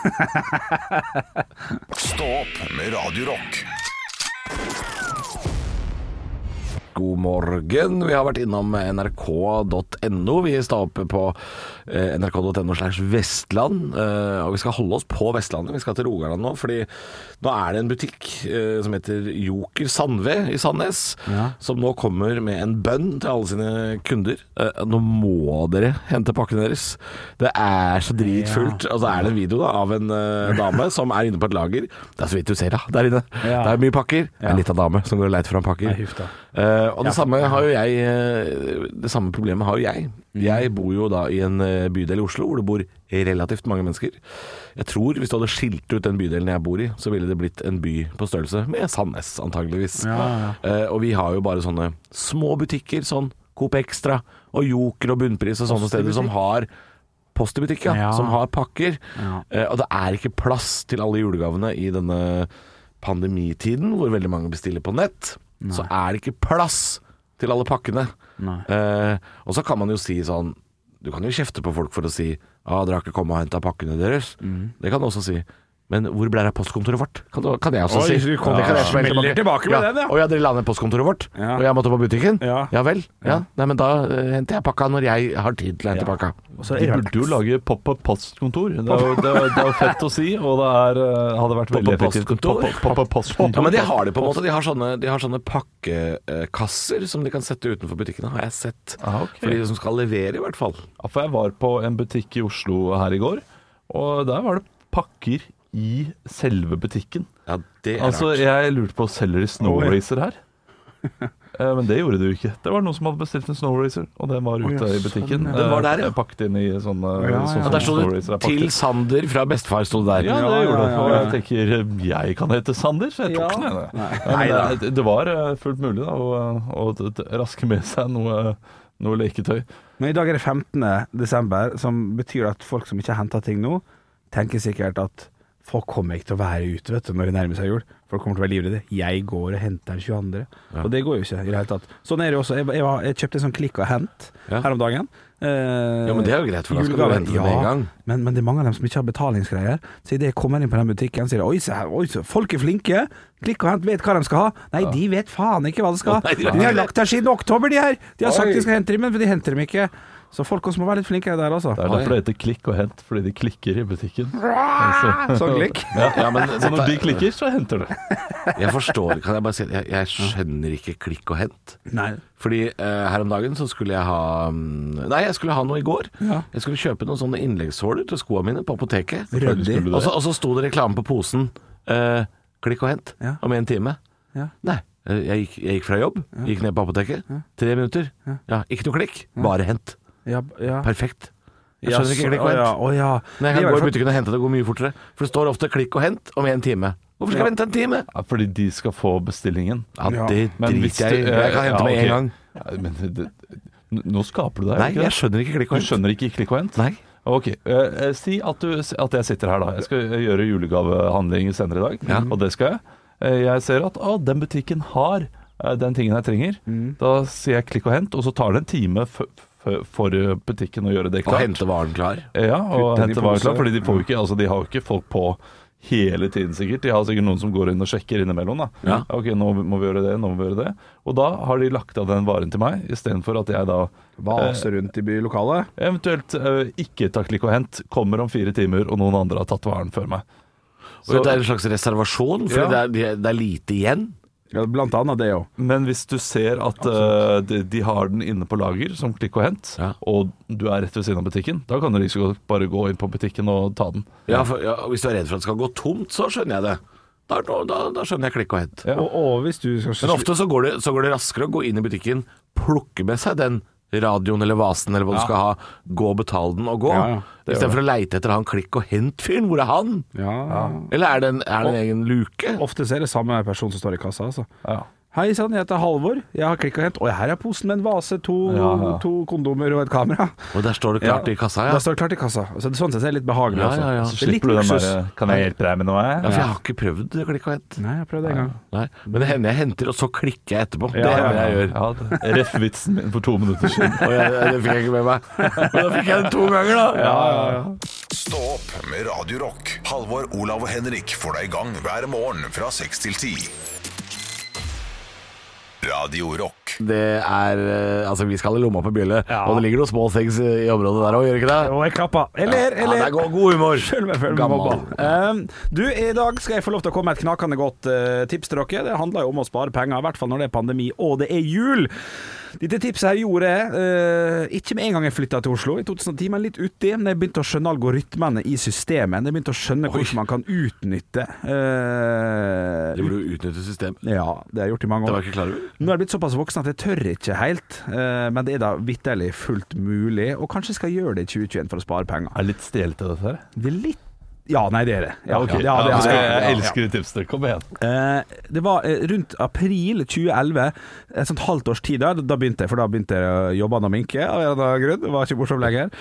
A: Stå opp med Radio Rock.
E: God morgen. Vi har vært innom nrk.no. Vi sta oppe på eh, nrk.no slash Vestland. eh, Og vi skal holde oss på Vestlandet. Vi skal til Rogaland nå, fordi nå er det en butikk eh, som heter Joker Sandve i Sandnes, som nå kommer med en bønn til alle sine kunder. Eh, Nå må dere hente pakkene deres. Det er så dritfullt. Og så er det en video da, av en eh, dame som er inne på et lager. Det er så vidt du ser, da, der inne.
D: Ja.
E: Det er mye pakker. Det er litt av dame som går og leiter fram pakker.
D: Nei, huff da.
E: Eh, og det samme har jo jeg eh, Det samme problemet har jo jeg. Jeg bor jo da i en eh, bydel i Oslo hvor det bor relativt mange mennesker. Jeg tror hvis du hadde skilt ut den bydelen jeg bor i, så ville det blitt en by på størrelse med Sandnes, antageligvis. Eh, og vi har jo bare sånne små butikker, sånn Coop Extra og Joker og Bunnpris og sånne steder som har Post i butikk, ja,
D: Ja.
E: som har pakker.
D: Ja.
E: Eh, og det er ikke plass til alle julegavene i denne pandemitiden, hvor veldig mange bestiller på nett. Så er det ikke plass til alle pakkene.
D: Nei.
E: Eh, og så kan man jo si sånn Du kan jo kjefte på folk for å si ah, 'Dere har ikke kommet og henta pakkene deres'.
D: Mm.
E: Det kan du også si. Men hvor ble det av postkontoret vårt? Kan, du- kan jeg også
D: Oi,
E: si.
D: du kommer-
E: Det kan jeg smelle
D: smeller tilbake med
E: ja.
D: den, ja.
E: Å ja, dere la ned postkontoret vårt,
D: Ja.
E: og jeg måtte på butikken?
D: Ja.
E: vel. Ja. Nei, men da eh, henter jeg pakka når jeg har tid til å hente pakka.
C: De burde jo lage pop-up postkontor. Det er jo det er, det er fett å si, og det er, eh, hadde vært veldig
E: Pop-up
C: effektivt.
E: postkontor?
C: Pop-up- Pop-up postkontor.
E: Ja, men de har det på en måte. De har sånne, de har sånne pakkekasser som de kan sette utenfor butikkene, har jeg sett.
C: Ah, ok.
E: For de som skal levere, i hvert fall.
C: Ja, for jeg var på en butikk i Oslo her i går, og der var det pakker i selve butikken.
E: Ja, det er
C: Altså,
E: rart.
C: jeg lurte på selger de Snow Racer
E: [laughs]
C: her? Eh, Men det gjorde de jo ikke. Det var noen som hadde bestilt en Snow Racer, og den var ute i butikken.
E: Den var der, ja.
C: eh, Pakket inn i sånne, sånn
D: ja, ja.
C: som
E: Der sto
C: Snow Racer
E: det
C: er
E: 'Til
C: pakket.
E: Sander fra bestefar' sto det der.
C: Ja, det
D: Ja,
C: gjorde det.
D: ja,
C: Og
D: ja,
C: jeg tenker, jeg kan hete Sander, så jeg tok den. jeg. Ja, men det, det var eh, fullt mulig da, å, å t- t- raske med seg noe, noe leketøy.
D: Men i dag er det 15. desember, som betyr at folk som ikke har henta ting nå, tenker sikkert at folk kommer ikke til å være ute vet du, når det nærmer seg jul. Folk kommer til å være livredde. Jeg går og henter den 22. Og det går jo ikke i det hele tatt. Sånn er det jo også. Jeg, jeg, var- jeg kjøpte en sånn klikk og hent
E: Ja.
D: her om dagen. Eh,
E: Ja, men det er jo greit, for da skal du
D: julegave.
E: hente det med en gang.
D: Men, men det er mange av dem som ikke har betalingsgreier. Så idet jeg kommer inn på den butikken, sier de oi, se her, oi, se, folk er flinke. Klikk og hent vet hva de skal ha. Nei, de vet faen ikke hva de skal ha.
E: Nei, de vet
D: De har
E: ikke.
D: lagt der siden oktober, de her. De har sagt
E: Oi.
D: de skal hente dem, men de henter dem ikke. Så folk også må være litt flinkere der, altså.
C: Det er derfor det heter klikk og hent, fordi de klikker i butikken.
D: Sånn klikk.
E: altså. Ja, men
C: Så når de
E: dette-
C: klikker, så henter du.
E: jeg forstår Kan jeg bare si at jeg, jeg skjønner ikke klikk og hent.
D: Nei.
E: Fordi eh, her om dagen så skulle jeg ha mm, Nei, jeg skulle ha noe i går.
D: Ja.
E: Jeg skulle kjøpe noen sånne innleggssåler til skoene mine på apoteket.
D: Ryddig.
E: Og så, og så sto det reklame på posen. eh, klikk og hent
D: Ja.
E: om en time.
D: Ja.
E: Nei. eh, Jeg gikk, jeg gikk fra jobb, gikk ned på apoteket. Tre minutter. Ja. Ikke noe klikk, bare hent.
D: Ja, ja.
E: Perfekt. Jeg
D: Ja,
E: skjønner ikke
D: så-
E: klikk og
D: å ja,
E: hent.
D: Å ja.
E: Men jeg
D: Det er i
E: kan
D: hvert
E: gå i
D: fall-
E: butikken og hente det, det går mye fortere. For det står ofte 'klikk og hent' om en time. Hvorfor skal jeg vente en time?
C: Ja, fordi de skal få bestillingen.
E: Ja,
D: Ja.
E: det driter jeg i. Jeg kan hente med en gang.
C: men det, n- nå skaper du deg,
E: Nei,
C: ikke
E: jeg
C: det?
E: skjønner ikke klikk
C: Du
E: og hent.
C: skjønner ikke klikk og hent?
E: Nei.
C: Ok, eh, Si at, du, at jeg sitter her, da. Jeg skal eh, gjøre julegavehandlinger senere i dag,
E: Ja.
C: og det skal jeg. Eh, Jeg ser at å, den butikken har eh, den tingen jeg trenger.
D: Mm.
C: Da sier jeg klikk og hent, og så tar det en time f f for eh, butikken å gjøre det
E: Og
C: klart. Eh,
E: hente varen klar.
C: Ja, og
D: Putte den i
C: hente var
D: pose. Mm.
C: klar, fordi de, får jo ikke, altså, de har jo ikke folk på hele tiden, sikkert. De har sikkert noen som går inn og sjekker innimellom. da.
E: Ja.
C: Ok, nå må vi gjøre det, nå må vi gjøre det. Og da har de lagt av den varen til meg, istedenfor at jeg da
D: Vase rundt i by- lokalet.
C: eventuelt eh, ikke tar klikk og hent, kommer om fire timer, og noen andre har tatt varen før meg.
E: Så det er en slags reservasjon, for
C: Ja.
E: det, er- det, er- det er lite igjen.
D: Ja, Blant annet det òg.
C: Men hvis du ser at eh, de, de har den inne på lager som klikk og hent,
E: Ja.
C: og du er rett ved siden av butikken, da kan du like så godt bare gå inn på butikken og ta den.
E: Ja, for, ja, og hvis du er redd for at det skal gå tomt, så skjønner jeg det. Da, da, da, da skjønner jeg klikk og hent.
C: Ja.
D: Og, og hvis du skal
E: Men ofte så går, det, så går det raskere å gå inn i butikken, plukke med seg den radioen eller vasen eller hva du skal ha, gå og betale den og gå.
D: Ja, ja,
E: I stedet for å leite etter han klikk og hent-fyren. Hvor er han?
D: ja.
E: Eller er det en, er det en egen luke?
D: Ofte så er det samme person som står i kassa, altså.
C: Ja.
D: Hei sann, jeg heter Halvor. Jeg har klikk og hent. Og her er posen med en vase, to,
C: Ja, ja.
D: to kondomer og et kamera.
E: Og der står det klart i kassa, ja.
D: Da står det klart i kassa. Så det, sånn sett er det litt behagelig,
E: Ja,
D: altså.
E: ja, ja.
C: Så
D: Det er litt
C: slipper du den
D: luksus.
E: eh,
C: derre 'kan jeg hjelpe deg med noe'? eh?"
E: Ja, for jeg har ikke prøvd klikk og hent.
D: Nei, jeg prøvde en gang.
E: Nei. Men det hender jeg henter, og så klikker jeg etterpå. det
D: Ja, ja,
E: hender jeg gjør.
C: Ja, det- Ref vitsen min for to minutter siden.
E: Og jeg, jeg, det fikk jeg ikke med meg. [laughs] Men da fikk jeg den to ganger, da.
A: Stå opp med Radio Rock. Halvor, Olav og Henrik får deg i gang hver morgen fra 6 til 10. Radio Rock.
E: Det er eh, Altså, vi skal i lomma på bjelle, og det ligger noen små things i i området der òg, gjør det ikke det?
D: Og jeg klappa. Eller,
E: Ja, det er
D: eller.
E: god, god humor.
D: Følg med, følg med
E: Gammel.
D: mobba. Ehm, du, i dag skal jeg få lov til å komme med et knakende godt eh, tips til dere. Det handler jo om å spare penger, i hvert fall når det er pandemi og det er jul. Dette tipset her gjorde jeg eh, ikke med en gang jeg flytta til Oslo i 2010, men litt uti. Når jeg begynte å skjønne algoritmene i systemet, når jeg begynte å skjønne hvordan man kan utnytte eh,
E: Det burde jo utnytte systemet.
D: Ja, det har jeg gjort i mange
E: Det
D: år.
E: var jeg ikke klar over.
D: Nå er jeg blitt såpass voksen at jeg tør ikke helt, eh, men det er da vitterlig fullt mulig, og kanskje skal jeg gjøre det i 2021 for å spare penger.
C: Er litt stjelete, dette her.
D: Det er litt Ja, nei, det er det. Ja,
C: ok.
D: ja, det
C: Ja,
D: er,
C: jeg,
D: ja,
C: jeg
D: ja.
C: elsker de tipsene. Kom igjen.
D: Eh, Det var eh, rundt april 2011, et sånt halvt års tid der, da begynte jeg, for da begynte jeg å jobbe med minke av en eller annen grunn, det var ikke morsomt lenger.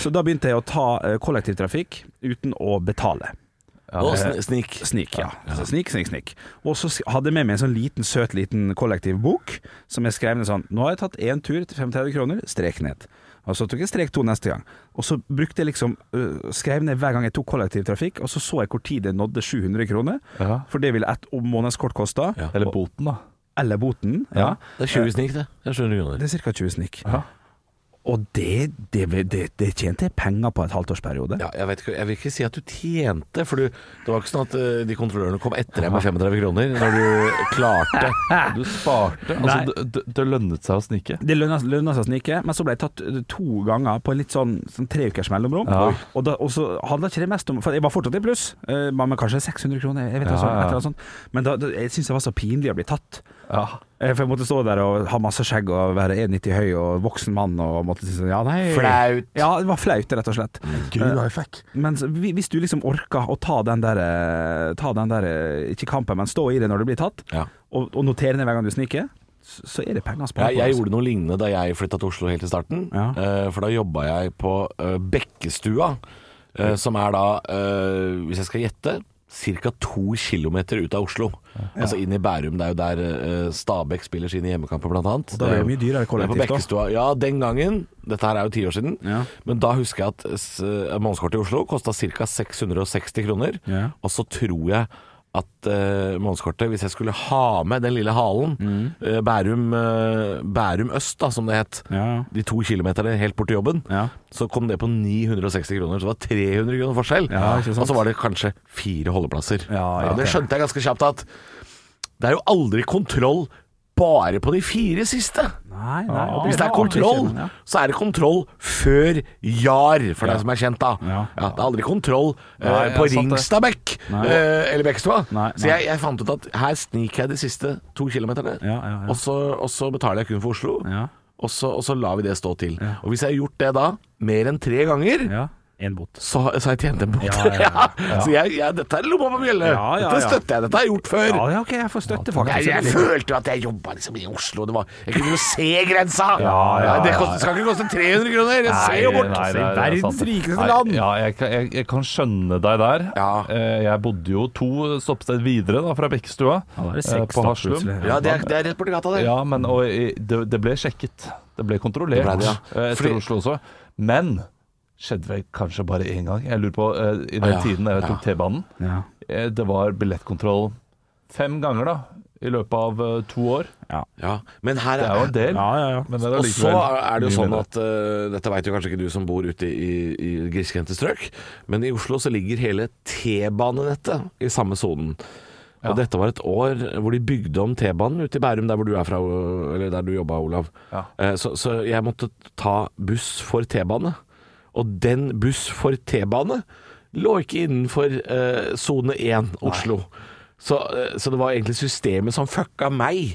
D: Så da begynte jeg å ta eh, kollektivtrafikk uten å betale.
E: Og sn- snik.
D: Snik, ja. Så Snik, snik, snik. Og så sk- hadde jeg med meg en sånn liten, søt liten kollektivbok, som jeg skrev ned sånn Nå har jeg tatt én tur til 35 kroner, strek ned. Og så tok jeg strek to neste gang. Og så brukte jeg liksom øh, Skrev ned hver gang jeg tok kollektivtrafikk, og så så jeg hvor tid det nådde 700 kroner.
C: Ja.
D: For det ville ett månedskort kosta.
E: Ja.
C: Eller boten, da.
D: Eller boten. Ja.
E: Det er 20 snik, det. Det er 700 kroner.
D: Det er ca. 20 snikk. Og det, det, det, det tjente jeg penger på et halvtårsperiode.
E: Ja, jeg, vet ikke, jeg vil ikke si at du tjente, for du, det var ikke sånn at eh, de kontrollørene kom etter deg med 35 kroner når du klarte. [laughs]
C: Du sparte.
D: Nei.
C: Altså, det, det- det lønnet seg å snike.
D: Det lønna, lønna seg å snike, men så ble jeg tatt eh, to ganger på en litt sånn, sånn tre ukers mellomrom.
C: Ja.
D: Og, da, og så handla ikke det mest om For jeg var fortsatt i pluss, eh, men men kanskje 600 kroner, jeg vet
C: Ja,
D: ikke, sånn, et
C: ja.
D: eller annet sånt. Men da, da, jeg syntes det var så pinlig å bli tatt.
C: Ja.
D: Eh, For jeg måtte stå der og ha masse skjegg og være 1,90 høy og voksen mann og måtte si sånn ja, nei.
E: Flaut.
D: Ja, det var flaut, rett og slett. Eh, Men så- hvi- hvis du liksom orker å ta den der, eh, ta den der eh, ikke kampen, men stå i det når du blir tatt,
E: Ja.
D: og, og notere ned hver gang du sniker, så så er det penger å spare.
E: Jeg,
D: på,
E: jeg
D: altså.
E: gjorde noe lignende da jeg flytta til Oslo helt i starten.
D: Ja.
E: Eh, for da jobba jeg på eh, Bekkestua, eh, som er da, eh, hvis jeg skal gjette, ca. to kilometer ut av Oslo. Altså inn i Bærum. Det er jo der eh, Stabæk spiller sine hjemmekamper, blant annet.
D: da blir det
E: er jo-
D: mye dyrere kollektivt,
E: det er på Bekkestua. Ja, den gangen. Dette her er jo ti år siden.
D: Ja.
E: Men da husker jeg at eh, s- månedskortet i Oslo kosta ca. 660 kroner.
D: Ja.
E: Og så tror jeg at eh, månedskortet, hvis jeg skulle ha med den lille halen,
D: Mm.
E: eh, Bærum, eh, Bærum øst, da, som det het,
D: Ja, ja.
E: de to kilometerne helt bort til jobben,
D: Ja.
E: så kom det på 960 kroner. Så det var 300 kroner forskjell.
D: Ja, ikke sant.
E: og så var det kanskje fire holdeplasser.
D: Ja,
E: Og det
D: riktig.
E: skjønte jeg ganske kjapt at det er jo aldri kontroll bare på de fire siste.
D: Nei, nei, og
E: Hvis det er kontroll,
D: ja.
E: så er det kontroll før JAR, for deg som er kjent, da.
D: Ja.
E: Ja, det er aldri kontroll eh,
C: Nei,
E: på
C: ja, sant det.
E: Ringstadbekk
D: Nei.
E: eh, eller Bekkestua.
D: Nei,
E: Så
D: nei.
E: jeg, jeg fant ut at her sniker jeg de siste to kilometerne,
D: Ja, ja, ja.
E: Og, så, og så betaler jeg kun for Oslo.
D: Ja.
E: Og, så, og så lar vi det stå til. Og hvis jeg har gjort det da mer enn tre ganger,
D: Ja. En bot.
E: så, så har jeg tjent en bot.
D: Ja, ja, ja.
E: [laughs] Så jeg, jeg, dette er lomma på bjelle.
D: Ja, ja, ja.
E: Dette støtter jeg. Dette har jeg gjort før.
D: Ja, ja, ok, jeg får støtte,
E: Jeg,
D: faktisk.
E: jeg følte jo at jeg jobba liksom i Oslo. Det var, jeg kunne jo se grensa!
C: ja, ja.
E: Det kost, skal ikke koste 300 kroner! Jeg ser jo bort!
C: nei, nei,
D: altså, i
C: det er
D: verdens
C: sant.
D: rikeste
C: Nei,
D: land.
C: Ja, jeg, kan- jeg, jeg kan skjønne deg der.
E: Ja.
C: Eh, Jeg bodde jo to stoppsted videre da, fra Bekkestua,
D: Ja, da er det
C: eh,
D: seks
C: på
D: da,
C: Haslum.
D: plutselig.
E: Ja, det er, det er rett borti gata, det.
C: Ja, men og, i- det, det ble sjekket. Det ble kontrollert
E: Det ble det, ja.
C: eh, etter
E: Fordi-
C: Oslo også. Men skjedde vel kanskje bare én gang. Jeg lurer på, eh, I den
E: Ja,
C: tiden da jeg
E: ja.
C: tok T-banen
D: Ja.
C: eh, Det var billettkontroll fem ganger da, i løpet av eh, to år.
E: Ja, men her
C: Det er jo en del.
D: Ja, ja, ja.
C: Men det er
E: Og så
C: allikevel
E: er det jo
C: mye
E: sånn
C: mindre.
E: at eh, Dette vet jo kanskje ikke du som bor ute i, i grisgrendte strøk, men i Oslo så ligger hele T-banenettet i samme sonen. Og dette var et år hvor de bygde om T-banen ute i Bærum, der hvor du er fra, eller der du jobba, Olav.
C: Ja.
E: Eh, så, så jeg måtte ta buss for T-bane. Og den buss for T-bane lå ikke innenfor eh, sone 1 Oslo. Så, eh, så det var egentlig systemet som fucka meg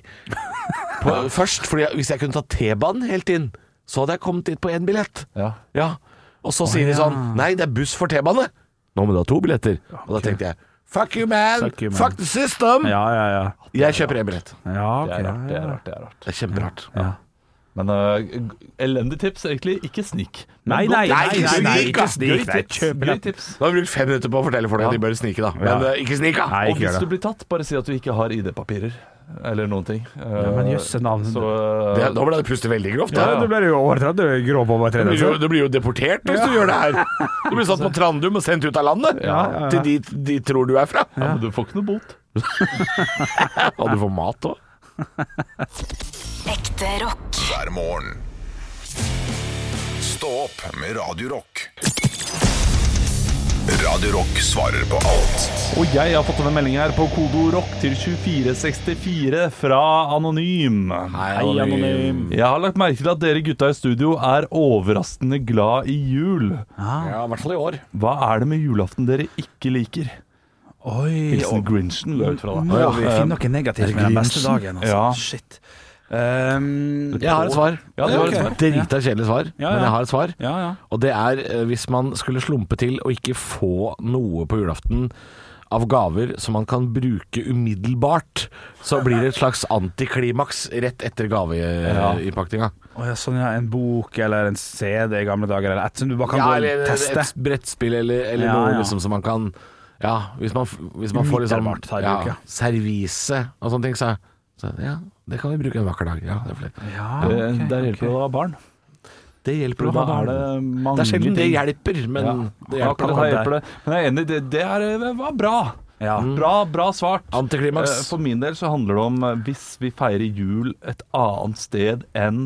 E: på, først. Fordi jeg, hvis jeg kunne ta T-banen helt inn, så hadde jeg kommet dit på én billett.
C: Ja.
E: Ja. Og så sier de sånn Nei, det er buss for T-bane. Nå må du ha to billetter. Og da tenkte jeg Fuck you, man!
D: Fuck
E: Fuck,
D: you, man.
E: the system!
D: Ja, ja, ja.
E: Jeg kjøper én billett.
D: ja
C: Det
D: ok,
C: er
D: ja,
C: rart, det er rart. det er rart
E: Det er kjemperart.
C: Men eh, elendig tips, egentlig. Ikke snik.
D: Nei,
C: Men
D: nei,
C: godt-
D: nei, nei, nei,
E: snik,
D: ikke
E: da.
D: snik. Nei,
C: Gøy tips.
D: kjøp
C: Gøy
D: billett.
C: tips.
E: Da har vi brukt fem minutter på å fortelle folk at de bør snike, da. Men
D: Ja.
E: eh, ikke snik, da!
D: Nei,
C: Og
D: ikke
C: hvis
D: gjør
C: du
D: det.
C: blir tatt, bare si at du ikke har ID-papirer eller noen ting.
D: Ja, men jøsse navn.
C: Så
E: Det,
C: eh,
E: da ble det pustet veldig grovt.
D: Ja,
E: Da.
D: du blir jo overtredd, du er grov altså.
E: Du, blir
D: overtredelse.
E: jo, du blir jo deportert hvis du gjør det her. Du
D: [laughs]
E: blir satt på Trandum og sendt ut av landet.
D: ja, ja.
E: Til dit de tror du er fra.
C: ja, men du får ikke noe bot.
E: Og du får mat òg.
B: Ekte rock.
A: hver morgen. Stå opp med Radio Rock. Radio Rock svarer på alt
C: Og jeg har fått en melding her på kodo rock til 2464 fra Anonym.
D: Hei, anonym.
C: Jeg har lagt merke til at dere gutta i studio er overraskende glad i jul.
E: Ja, I hvert fall i år.
C: Hva er det med julaften dere ikke liker?
D: Oi,
C: Hilsen Grinchen, går jeg ut fra
D: Må
C: da.
D: vi finne noe negativt med den beste dagen, altså.
C: Ja.
D: Shit. Um,
E: Jeg har et svar.
C: Ja, det var et
D: ok.
C: svar.
E: Drita kjedelig svar,
D: Ja, ja.
E: men jeg har et svar.
D: ja, ja.
E: Og det er eh, hvis man skulle slumpe til og ikke få noe på julaften av gaver som man kan bruke umiddelbart, så blir det et slags antiklimaks rett etter gaveinnpaktinga.
D: Å, ja, sånn, ja, en bok eller en CD i gamle dager, eller et som du bare kan
E: Ja,
D: gå og
E: eller et
D: teste.
E: brettspill eller, eller
D: Ja, ja.
E: noe liksom som man kan Ja, hvis man, f- hvis man får liksom
D: Umiddelbart tar i bruk, ja.
E: ja, servise og sånne ting, så, så ja, det kan vi bruke en vakker dag. Ja, det, er flott.
D: Ja,
C: Det,
D: ok,
C: Eh, der hjelper det
D: ok.
C: å ha barn.
E: det hjelper
C: For
E: å
C: da
E: ha
C: er det
E: barn.
C: mange
E: Det er sjelden det
C: ting.
E: hjelper, men
C: Ja,
E: det hjelper.
C: akkurat her hjelper det. Men jeg er enig, det, det er, eh, var bra. Mm.
D: Ja.
C: Bra, bra svart.
E: Antiklimaks.
C: Eh, For min del så handler det om eh, hvis vi feirer jul et annet sted enn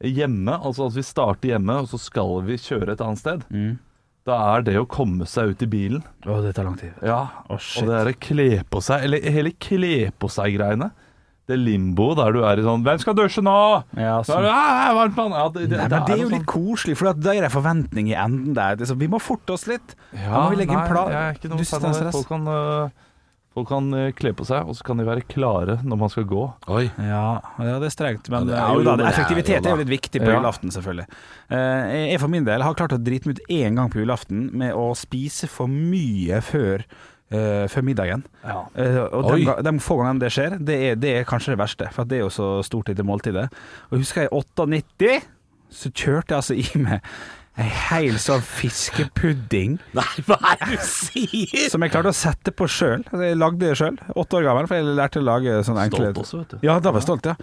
C: hjemme, altså at vi starter hjemme og så skal vi kjøre et annet sted, da er det å komme seg ut i bilen.
D: Å, det tar lang tid.
C: Ja,
D: Å, shit.
C: og det er å kle på seg, eller hele kle på seg-greiene. Det limboet der du er i sånn 'Hvem skal dusje nå?'
D: Ja,
C: Så er det, «Ah, varmt vann!» ja, det, det,
D: Nei,
C: det
D: men det er jo
C: noe
D: litt koselig, for at da er det forventning i enden der. Det er sånn, vi må forte oss litt.
C: sånn-
D: Da må vi legge en
C: nei,
D: plan.
C: Jeg er ikke
D: Du
C: noe
D: synes
C: fan
D: det er
C: av det.
D: stress?
C: Folk kan, øh, folk kan øh, kle på seg, og så kan de være klare når man skal gå.
E: Oi.
D: Ja, ja, det er strengt, men
E: Ja, det er
D: jo,
E: jo-
D: da,
E: men det er-
D: effektivitet
E: jo
D: er
E: da.
D: jo litt viktig på
C: Ja.
D: julaften, selvfølgelig. Eh, Jeg for min del har klart å drite meg ut én gang på julaften med å spise for mye før, eh, før middagen. Eh, og de,
E: Oi.
D: ga- de få gangene det skjer, det er, det er kanskje det verste, for at det er jo så stort lite måltidet. Og husker jeg i 98, så kjørte jeg altså i meg en hel sånn fiskepudding
E: Nei, hva er det du sier?!
D: [laughs] som jeg klarte å sette på sjøl. Altså, jeg lagde det sjøl, åtte år gammel, for jeg lærte å lage sånne enkle
C: Stolt også, vet du.
D: ja, da var jeg stolt, ja.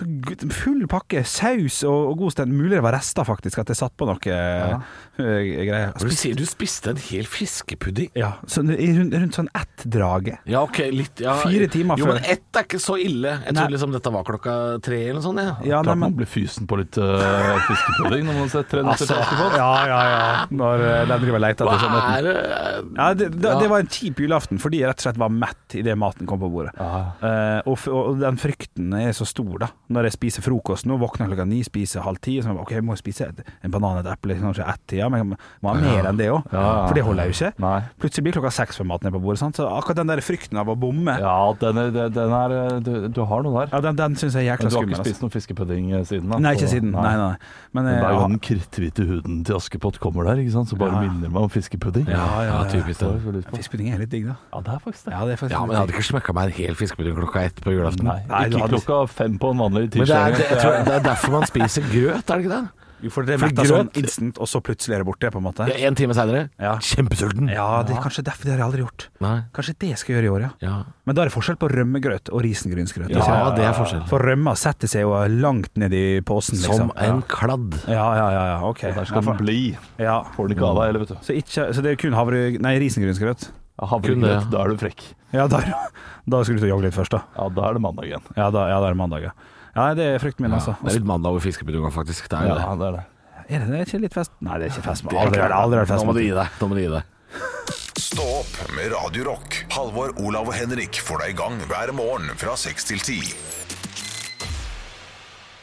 D: Så gud, full pakke, saus og, og god sted. Mulig det var rester, faktisk, at jeg satt på noe eh, greier.
E: Du sier du spiste en hel fiskepudding.
D: Ja, så i rundt, rundt sånn ett drage.
E: Ja, ok, litt ja.
D: Fire timer
E: jo,
D: før.
E: Men ett er ikke så ille. Jeg
D: Nei.
E: trodde liksom dette var klokka tre eller noe sånt. Ja.
D: Ja, nei,
C: Klart man
D: men
C: blir fysen på litt øh, fiskepudding når man ser tre netter
D: Altså,
C: til Askepott.
D: ja, ja, ja. Når eh, den driver og leter
E: Hva
D: etter sånn maten.
E: er det
D: Ja, det, det, det var en kjip julaften, fordi jeg rett og slett var mett idet maten kom på bordet. Eh, og, f- og den frykten er så stor, da. Når jeg spiser frokost nå, våkner jeg klokka ni, spiser halv ti. og Så jeg, bare, ok, jeg må spise et, en banan og et eple, liksom, kanskje ett-tida, men jeg må- må ha mer enn det òg.
C: Ja.
D: For det holder jeg jo ikke.
C: Nei.
D: Plutselig blir klokka seks før maten er på bordet. Sant? Så akkurat den der frykten av å bomme, ja.
C: Ja, den er, den- den er øh, du, du har noe der.
D: den, den syns jeg
C: Men
D: er jækla
C: du har ikke
D: skummel.
C: spist
D: Altså.
C: noen fiskepudding øh, siden? da?
D: Nei,
C: Så-
D: ikke siden. Nei, nei. Men,
C: Men
D: eh,
C: det er jo
D: ja,
C: den kritthvite huden til Askepott kommer der, ikke sant? så bare
D: Ja.
C: minner meg om fiskepudding.
D: ja, ja,
E: Ja,
D: ja.
E: typisk
C: Det
E: det.
C: var jeg så lyst på.
D: Fiskepudding er litt digg, da.
C: Ja, det er faktisk det.
D: Ja, det er faktisk
E: Ja, men jeg hadde ikke smekka meg en hel fiskepudding klokka ett på julaften.
C: Nei,
D: Nei, du
C: ikke
D: hadde-
C: klokka fem på en vanlig
E: Men det er,
C: tirsdag.
E: det, jeg tror, det er derfor man spiser grøt, er det ikke det?
D: Jo, for det
E: For
D: metter
E: grøt-
D: sånn instant, og så plutselig er det borte, på en måte.
E: Ja, en time seinere,
D: Ja.
E: kjempesulten.
D: Ja, det er kanskje derfor det har jeg aldri gjort.
E: Nei.
D: Kanskje det jeg skal gjøre i år, ja.
E: Ja.
D: Men da er det forskjell på rømmegrøt og risengrynsgrøt.
E: ja,
D: ikke sant?
E: det er forskjell.
D: For rømma setter seg jo langt ned i posen, liksom.
E: Som en kladd.
D: ja. ja, ja, ja, ja, ok.
C: Der skal
D: Ja,
C: den bli.
D: ja.
C: Får den ikke av deg, eller, vet du.
D: Så, ikke, så det er kun havre... Nei, risengrynsgrøt.
C: Havregrøt,
E: Kun det.
C: da er du frekk.
D: Ja, da, da skal du ut og jogge litt først, da.
C: Ja, da er det mandag igjen.
D: Ja, da, ja, da er det mandag, ja. Ja, det er frykten min, altså.
E: Det er litt mandag over fiskebudugang, faktisk. Det er jo det.
C: det er det.
D: Er det, det er ikke litt fest? Nei, det er ikke fest.
E: Det
D: men
E: er
D: Aldri,
E: klart.
D: vært- aldri vært fest.
E: Nå må du gi deg. Nå må du gi deg.
A: Stå opp med Radio Rock. Halvor, Olav og Henrik får deg i gang hver morgen fra 6 til 10.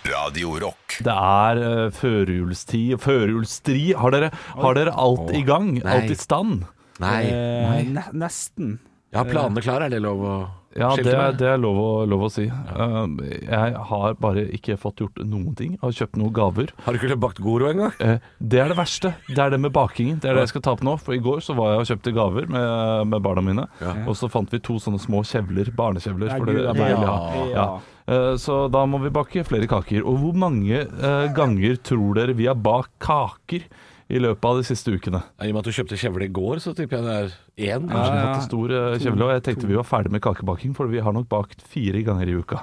A: Radio Rock.
C: Det er eh, førjulstid og førjulsstri. Har dere, har dere alt i gang? Alt i stand?
E: Nei.
D: Eh, ne nesten.
E: Jeg har planene klare, er det lov å
C: Ja, det,
E: skilte
C: er-
E: med?
C: det er lov å, lov å si. Um, jeg har bare ikke fått gjort noen ting. Jeg har kjøpt noen gaver.
E: Har du ikke bakt goro engang?
C: Eh, Det er det verste. Det er det med bakingen. Det er det jeg skal ta på nå. For i går så var jeg og kjøpte gaver med, med barna mine. Og så fant vi to sånne små kjevler, barnekjevler.
D: Ja,
C: For det,
D: gud,
C: jeg vil ha.
D: ja.
C: Ja. Eh, Så da må vi bake flere kaker. Og hvor mange eh, ganger tror dere vi har bakt kaker i løpet av de siste ukene?
E: I og med at du kjøpte kjevle i går, så tipper jeg det er én.
C: Kanskje vi
D: ja.
C: har hatt en stor eh, kjevle, og jeg tenkte vi var ferdig med kakebaking, for vi har nok bakt fire ganger i uka.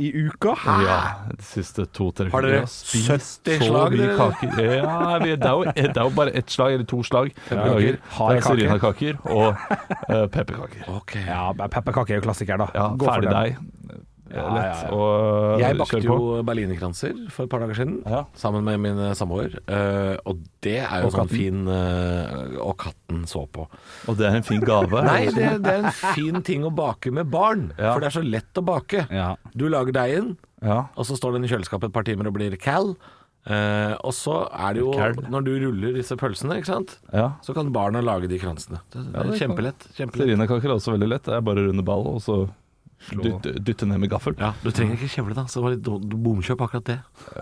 D: I uka?
C: Ja,
D: Ah.
C: de siste to-tre
E: Har dere
C: ukene. Vi
E: 70
C: så
E: slag,
C: mye
E: dere?
C: kaker. Ja, vi, det, er jo, det er jo bare ett slag, eller to slag. Vi
D: kaker.
C: lager
D: Hard
C: Det er serinakaker
D: [laughs]
C: og eh, pepperkaker.
E: Ok.
D: Ja, men pepperkake er jo klassiker, da.
C: Ja,
D: Gå for
C: ferdig
D: den.
C: deig. Eh,
D: Ja,
C: Lett
D: ja, ja.
C: å
E: Jeg
C: eh,
E: bakte
C: kjøre på.
E: jo berlinerkranser for et par dager siden,
C: Ja.
E: sammen med min eh, samboer. eh, og det er jo
D: Og
E: sånn
D: katten.
E: fin eh, Og katten så på.
C: Og det er en fin gave.
E: Nei, det, det er en fin ting å bake med barn,
C: Ja.
E: for det er så lett å bake.
D: Ja.
E: Du lager deigen,
C: Ja.
E: og så står den i kjøleskapet et par timer og blir cal. Eh, og så er det jo
C: Cal.
E: Når du ruller disse pølsene, ikke sant,
C: ja.
E: så kan barna lage de kransene. Det, det er
C: det kan-
E: kjempelett. kjempelett.
C: Serinakaker er også veldig lett. Det er bare å runde ball og så dytte, dytte ned med gaffel.
E: Ja, du trenger ikke kjevle, da. Så bare do- do- bomkjøp akkurat det.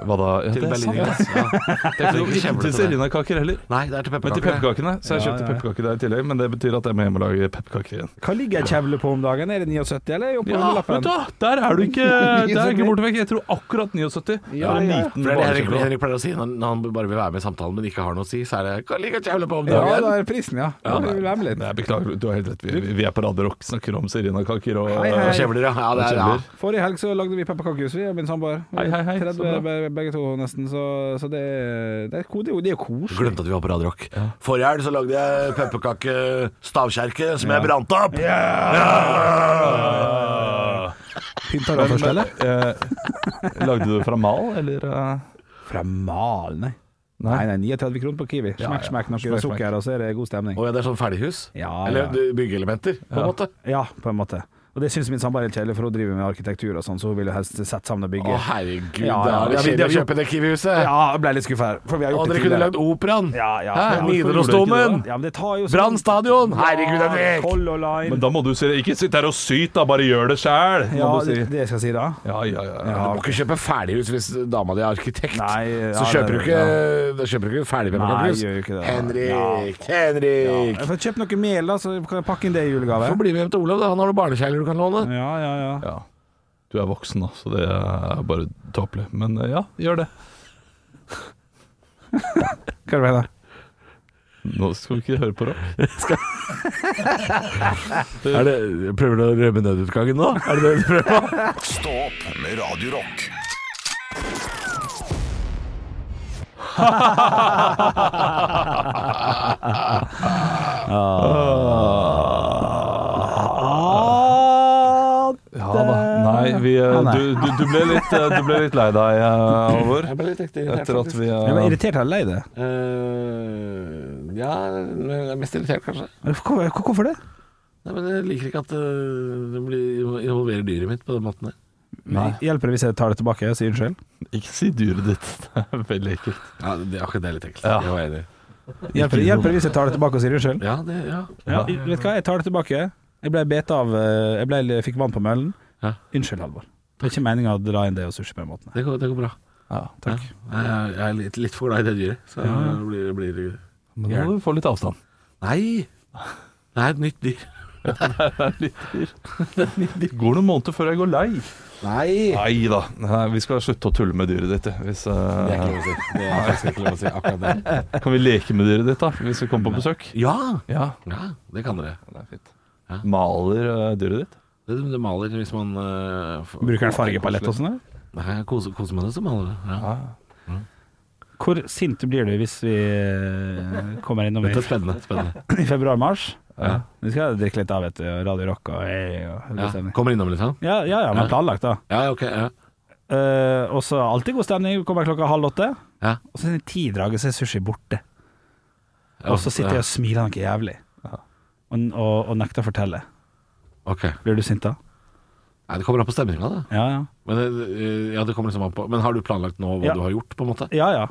C: Hva da? Ja,
E: Til
C: det er sant. ja.
E: berlinerkrans. Ja. Du trenger
C: Jo,
E: ikke
C: Ikke
E: kjevle
C: til
E: til det.
C: serinakaker heller.
E: Nei, det er til
C: Men til
E: pepperkaker. det.
C: pepperkakene. Så jeg
D: Ja,
C: kjøpte
D: ja, ja.
C: pepperkaker der i tillegg, men det betyr at jeg må hjem og lage pepperkaker igjen.
D: Hva ligger ei kjevle på om dagen? Er det 79, eller er det på
C: Ja, vet
D: hundrelappen?
C: du, hva? der er du
D: [laughs]
C: ikke, der er du ikke borte vekk. Jeg tror akkurat 79.
E: Ja,
C: Eller
E: ja.
C: 19
E: For det er det Henrik,
C: barnekjøper.
E: Henrik pleier å si når når han bare vil være med i samtalen, men ikke har noe å si, så er det Hva liker kjevle på om
D: Ja,
E: dagen?
D: da er prisen, ja.
E: Ja,
D: Det blir vel hemmelig.
C: Nei, beklager, du har helt rett. Vi, vi- vi er på Radio Rock, snakker om serinakaker og
D: Hei,
E: Og
D: hei.
E: Kjevler, ja. ja, det er, ja.
D: Forrige helg så lagde vi pepperkakehus, vi og min samboer.
C: Hei, hei, hei, så
D: 30
C: bra.
D: be- begge to, nesten. Så, så det, er- det, er, ko- det, er jo- det er jo koselig.
E: Glemte at vi var på Radio Rock. Forrige helg så lagde jeg pepperkakestavkjerke som jeg brant opp.
D: Pynta da først, eller?
C: Eh, lagde du det fra mal, eller?
D: [laughs]
C: eh?
D: Fra mal, nei. Nei, nei, 39 kroner på Kiwi. Smekk, smekk, noe sukker, og så er det god stemning.
E: Å ja, det er sånn ferdighus?
D: Ja,
E: Eller
D: ja.
E: du- byggeelementer, på en måte?
D: Ja, på en måte. Og det syns min samboer er litt kjedelig, for hun driver med arkitektur og sånn, så hun vil jo helst sette sammen og
E: Å
D: bygge.
E: herregud,
D: Ja,
E: da
D: ja,
E: er det
D: vi-
E: kjedelig å
D: vi-
E: kjøpe det Kiwi-huset.
D: Ja, jeg ble litt skuffa her, for vi har
E: Å,
D: gjort det
E: dere kunne
D: tidligere.
E: lagd operaen.
D: Ja, ja.
E: Hæ?
D: Ja, hvorfor
E: Nidarosdomen.
D: Ja, men det tar jo sånn-
E: Brann stadion. Herregud,
D: Ja,
E: Henrik.
D: Color
C: Men
D: Line.
C: da må du si det. Ikke sitt der og syt, da. Bare gjør det sjæl,
D: Ja,
C: må du si.
D: det det skal jeg si da.
C: Ja, ja, ja.
E: Du må ikke kjøpe ferdighus hvis dama di er arkitekt.
D: Nei, ja,
E: så kjøper du
D: det-
E: ikke, da kjøper du ikke ferdig
D: Nei,
E: pepperkakehus.
D: gjør jo ikke det.
E: Henrik! Henrik!
D: Jeg får kjøpt noe mel, da, så kan jeg pakke inn det i julegave.
E: Få bli med hjem til Olav, da. Han har noen barnekjegler du kan låne.
D: Ja, ja, ja.
C: Ja. Du er voksen, da, så det er bare tåpelig. Men eh, ja, gjør det.
D: Hva er det du mener?
C: Nå skal vi ikke høre på rock.
E: Er det, prøver du å rømme nødutgangen nå? Er det det du prøver på?
A: Stå opp med Radio Rock.
C: Ja da. Nei, vi, eh, du, du, du, ble litt, eh, du ble litt lei deg, eh, Halvor.
E: Jeg ble litt ekte
C: Etter at vi
D: Jeg
C: eh,
D: var irritert eller lei det.
E: Ja, jeg er mest irritert, kanskje.
D: Hvor- Hvorfor det?
E: Nei, men Jeg liker ikke at øh, det blir involverer dyret mitt på den måten der.
D: Hjelper det hvis jeg tar det tilbake og sier unnskyld?
C: Ikke si dyret ditt. [laughs] Det er veldig ekkelt.
E: Ja, det, Akkurat det er litt ekkelt.
C: Ja.
E: Jeg var enig.
D: Hjelper, hjelper det hvis jeg tar det tilbake og sier unnskyld?
E: Ja, det, ja.
D: Ja, i- vet du hva, jeg tar det tilbake. Jeg ble bet av eh, Jeg ble, fikk vann på møllen.
E: Ja.
D: Unnskyld, Halvor. Det er ikke meninga å dra inn det og sushi på den måten.
E: Det, går, det går bra.
C: Ja,
E: Ja. Nei, Jeg, jeg er litt, litt for glad i det dyret. Så det blir, blir
C: Men da må du få litt avstand.
E: Nei! Det er et nytt dyr.
C: Går noen måneder før jeg går lei.
E: Nei!
C: Nei da. Nei, Vi skal slutte å tulle med dyret ditt. jeg, Hvis,
E: Det er ikke
C: eh,
E: lov å si. Det er faktisk ikke lov å si akkurat det.
C: kan vi leke med dyret ditt, da? Hvis vi kommer på besøk?
E: Ja!
C: Ja,
E: ja det kan dere.
C: det er fint.
E: Ja.
C: Maler eh, dyret ditt?
E: Det, det maler hvis man eh, f-
D: Bruker den fargepalett og sånn? eller?
E: Nei, koser, koser med det, så maler det. Ja.
D: Hvor sint blir du hvis vi eh, kommer innom i,
E: Dette er spennende. [laughs] spennende.
D: i februar-mars? Vi skal drikke litt av, vet du. og Radio Rock og, hey, og god
E: Ja.
D: stemning.
E: Kommer innom, liksom?
D: Ja, ja, ja, men
E: Ja.
D: planlagt, da.
E: Ja, ok. Ja.
D: Eh, og så alltid god stemning. Kommer klokka halv åtte.
E: Ja.
D: Og så er det tidraget, så er sushi borte. Og så sitter jeg og smiler noe jævlig. Og, og, og nekter å fortelle.
E: Ok.
D: Blir du sint da?
E: Nei, det kommer an på stemninga, da.
D: Ja, ja.
E: Men, eh, ja, det kommer liksom an på. Men har du planlagt nå hva
D: Ja.
E: du har gjort, på en måte?
D: Ja, ja.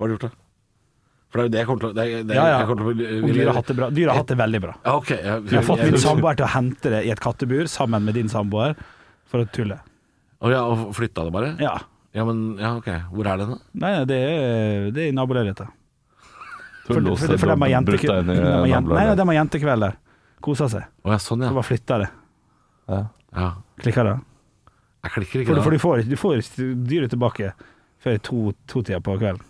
E: Hva har du gjort, da? For det er jo det jeg kommer til å det er, det er,
D: Ja, ja.
E: Jeg kommer til å
D: Om dyret har hatt det bra. Dyret har hatt det veldig bra.
E: Ja, ok. Jeg,
D: Jeg har fått min
E: jeg-
D: samboer til å hente det i et kattebur sammen med din samboer for å tulle.
E: Å ja, og flytta det bare?
D: Ja.
E: Ja, men ja, ok. Hvor er den, da?
D: Nei, nei, det er, det er i naboleiligheta.
C: Du
D: For, for, for de har
C: har brutt
D: jentekve-
C: deg inn i
D: de har jen- nei, nei,
C: nabolaget.
D: de har jentekveld der. Kosa seg.
E: Å ja, sånn,
D: Så
E: ja.
D: bare flytta det.
C: Ja.
E: ja.
D: Klikka det.
E: Jeg klikker ikke,
D: For,
E: da.
D: for du får, ikke- du får ikke dyret tilbake før i to- to-tida på kvelden.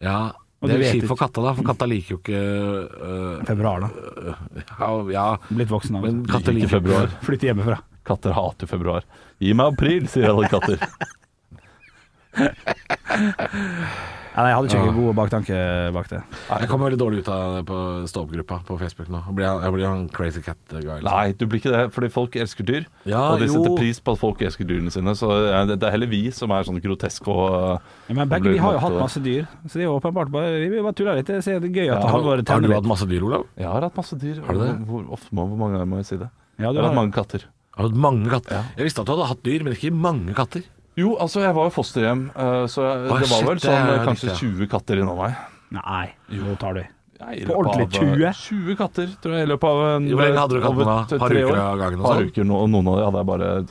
E: ja.
D: Og
E: Det
D: du
E: er
D: vet
E: kjipt
D: ikke.
E: for katta, da, for katta liker jo ikke øh,
D: Februar, da.
E: ja, ja,
D: Blitt voksen av
E: men
D: det.
E: katta
C: Ikke
E: liker
C: februar.
D: Flytte hjemmefra.
C: Katter hater februar. Gi meg april, sier alle katter.
D: Nei, jeg hadde ikke noen god baktanke bak det.
E: Jeg kommer veldig dårlig ut av det på stå-opp-gruppa på Facebook nå. Jeg blir, jeg blir en crazy cat-guy. liksom.
C: Nei, du blir ikke det, fordi folk elsker dyr.
E: Ja,
C: og de
E: jo.
C: setter pris på at folk elsker dyrene sine. Så eh, det det er heller vi som er sånn groteske og
D: Ja, Men begge vi har jo hatt masse dyr, så det er jo åpenbart bare Vi bare tuller litt. Jeg ser Det er gøy at
E: Har,
D: Halvor
E: har du
D: tenner
E: hatt
D: litt.
E: masse dyr, Olav?
C: Jeg har hatt masse dyr.
E: Har du det?
C: Hvor, ofte må, hvor mange må jeg si det?
D: Ja,
C: jeg har
D: du har-
C: hatt mange katter.
E: Har du hatt mange katter? Jeg visste at du hadde hatt dyr, men ikke mange katter.
C: Jo, altså, jeg var jo fosterhjem, eh, så jeg,
E: Å,
C: det var
E: shit,
C: vel
E: det er
C: sånn eh,
E: riktig,
C: kanskje
E: ja.
C: 20 katter innom meg.
D: Nei, nå tar du i.
C: Nei, i
D: På
C: løpet
D: ordentlig
C: av, eh,
D: 20?
C: 20 katter, tror jeg, i løpet av en,
E: Jo, Hvor lenge hadde du kattene da?
C: over t-
E: Par
C: tre
E: uker
C: år.
E: av gangen og
C: Par
E: sånn?
C: uker, no- og noen av de hadde jeg bare en,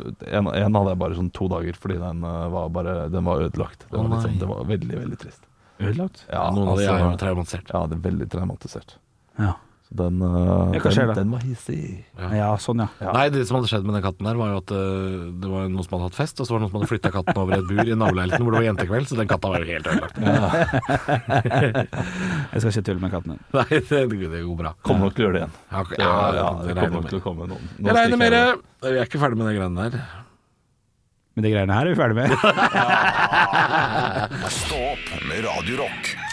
C: en hadde jeg bare sånn to dager, fordi den eh, var bare Den var ødelagt. Det var,
E: Å,
C: liksom,
E: nei.
C: det var veldig, veldig trist.
D: Ødelagt?
C: Ja,
E: Noen av de er jo
C: altså,
E: traumatisert.
C: Ja, det er veldig traumatisert.
D: Ja.
C: Så den, eh,
D: Ja, hva skjer
C: den,
D: da?
C: den var hissig.
D: ja, sånn ja.
C: Ja.
E: Nei, det som hadde skjedd med den katten der, var jo at øh, det var noen som hadde hatt fest, og så var det noen som hadde flytta [laughs] katten over i et bur i naboleiligheten hvor det var jentekveld, så den katta var jo helt ødelagt.
D: [laughs] Jeg skal ikke tulle med katten din.
E: [laughs] Nei, det, det går bra.
C: Kommer nok til å gjøre det igjen.
E: Ja, ok.
C: Ja,
E: Ja,
C: ja,
E: det
C: det
E: regner
C: kommer nok
E: med.
C: til å komme noen. noen
E: Jeg regner med det.
C: stykker.
E: Vi er ikke ferdig med de greiene der.
D: Men de greiene her er vi ferdig med.
A: Stå opp med Radio Rock.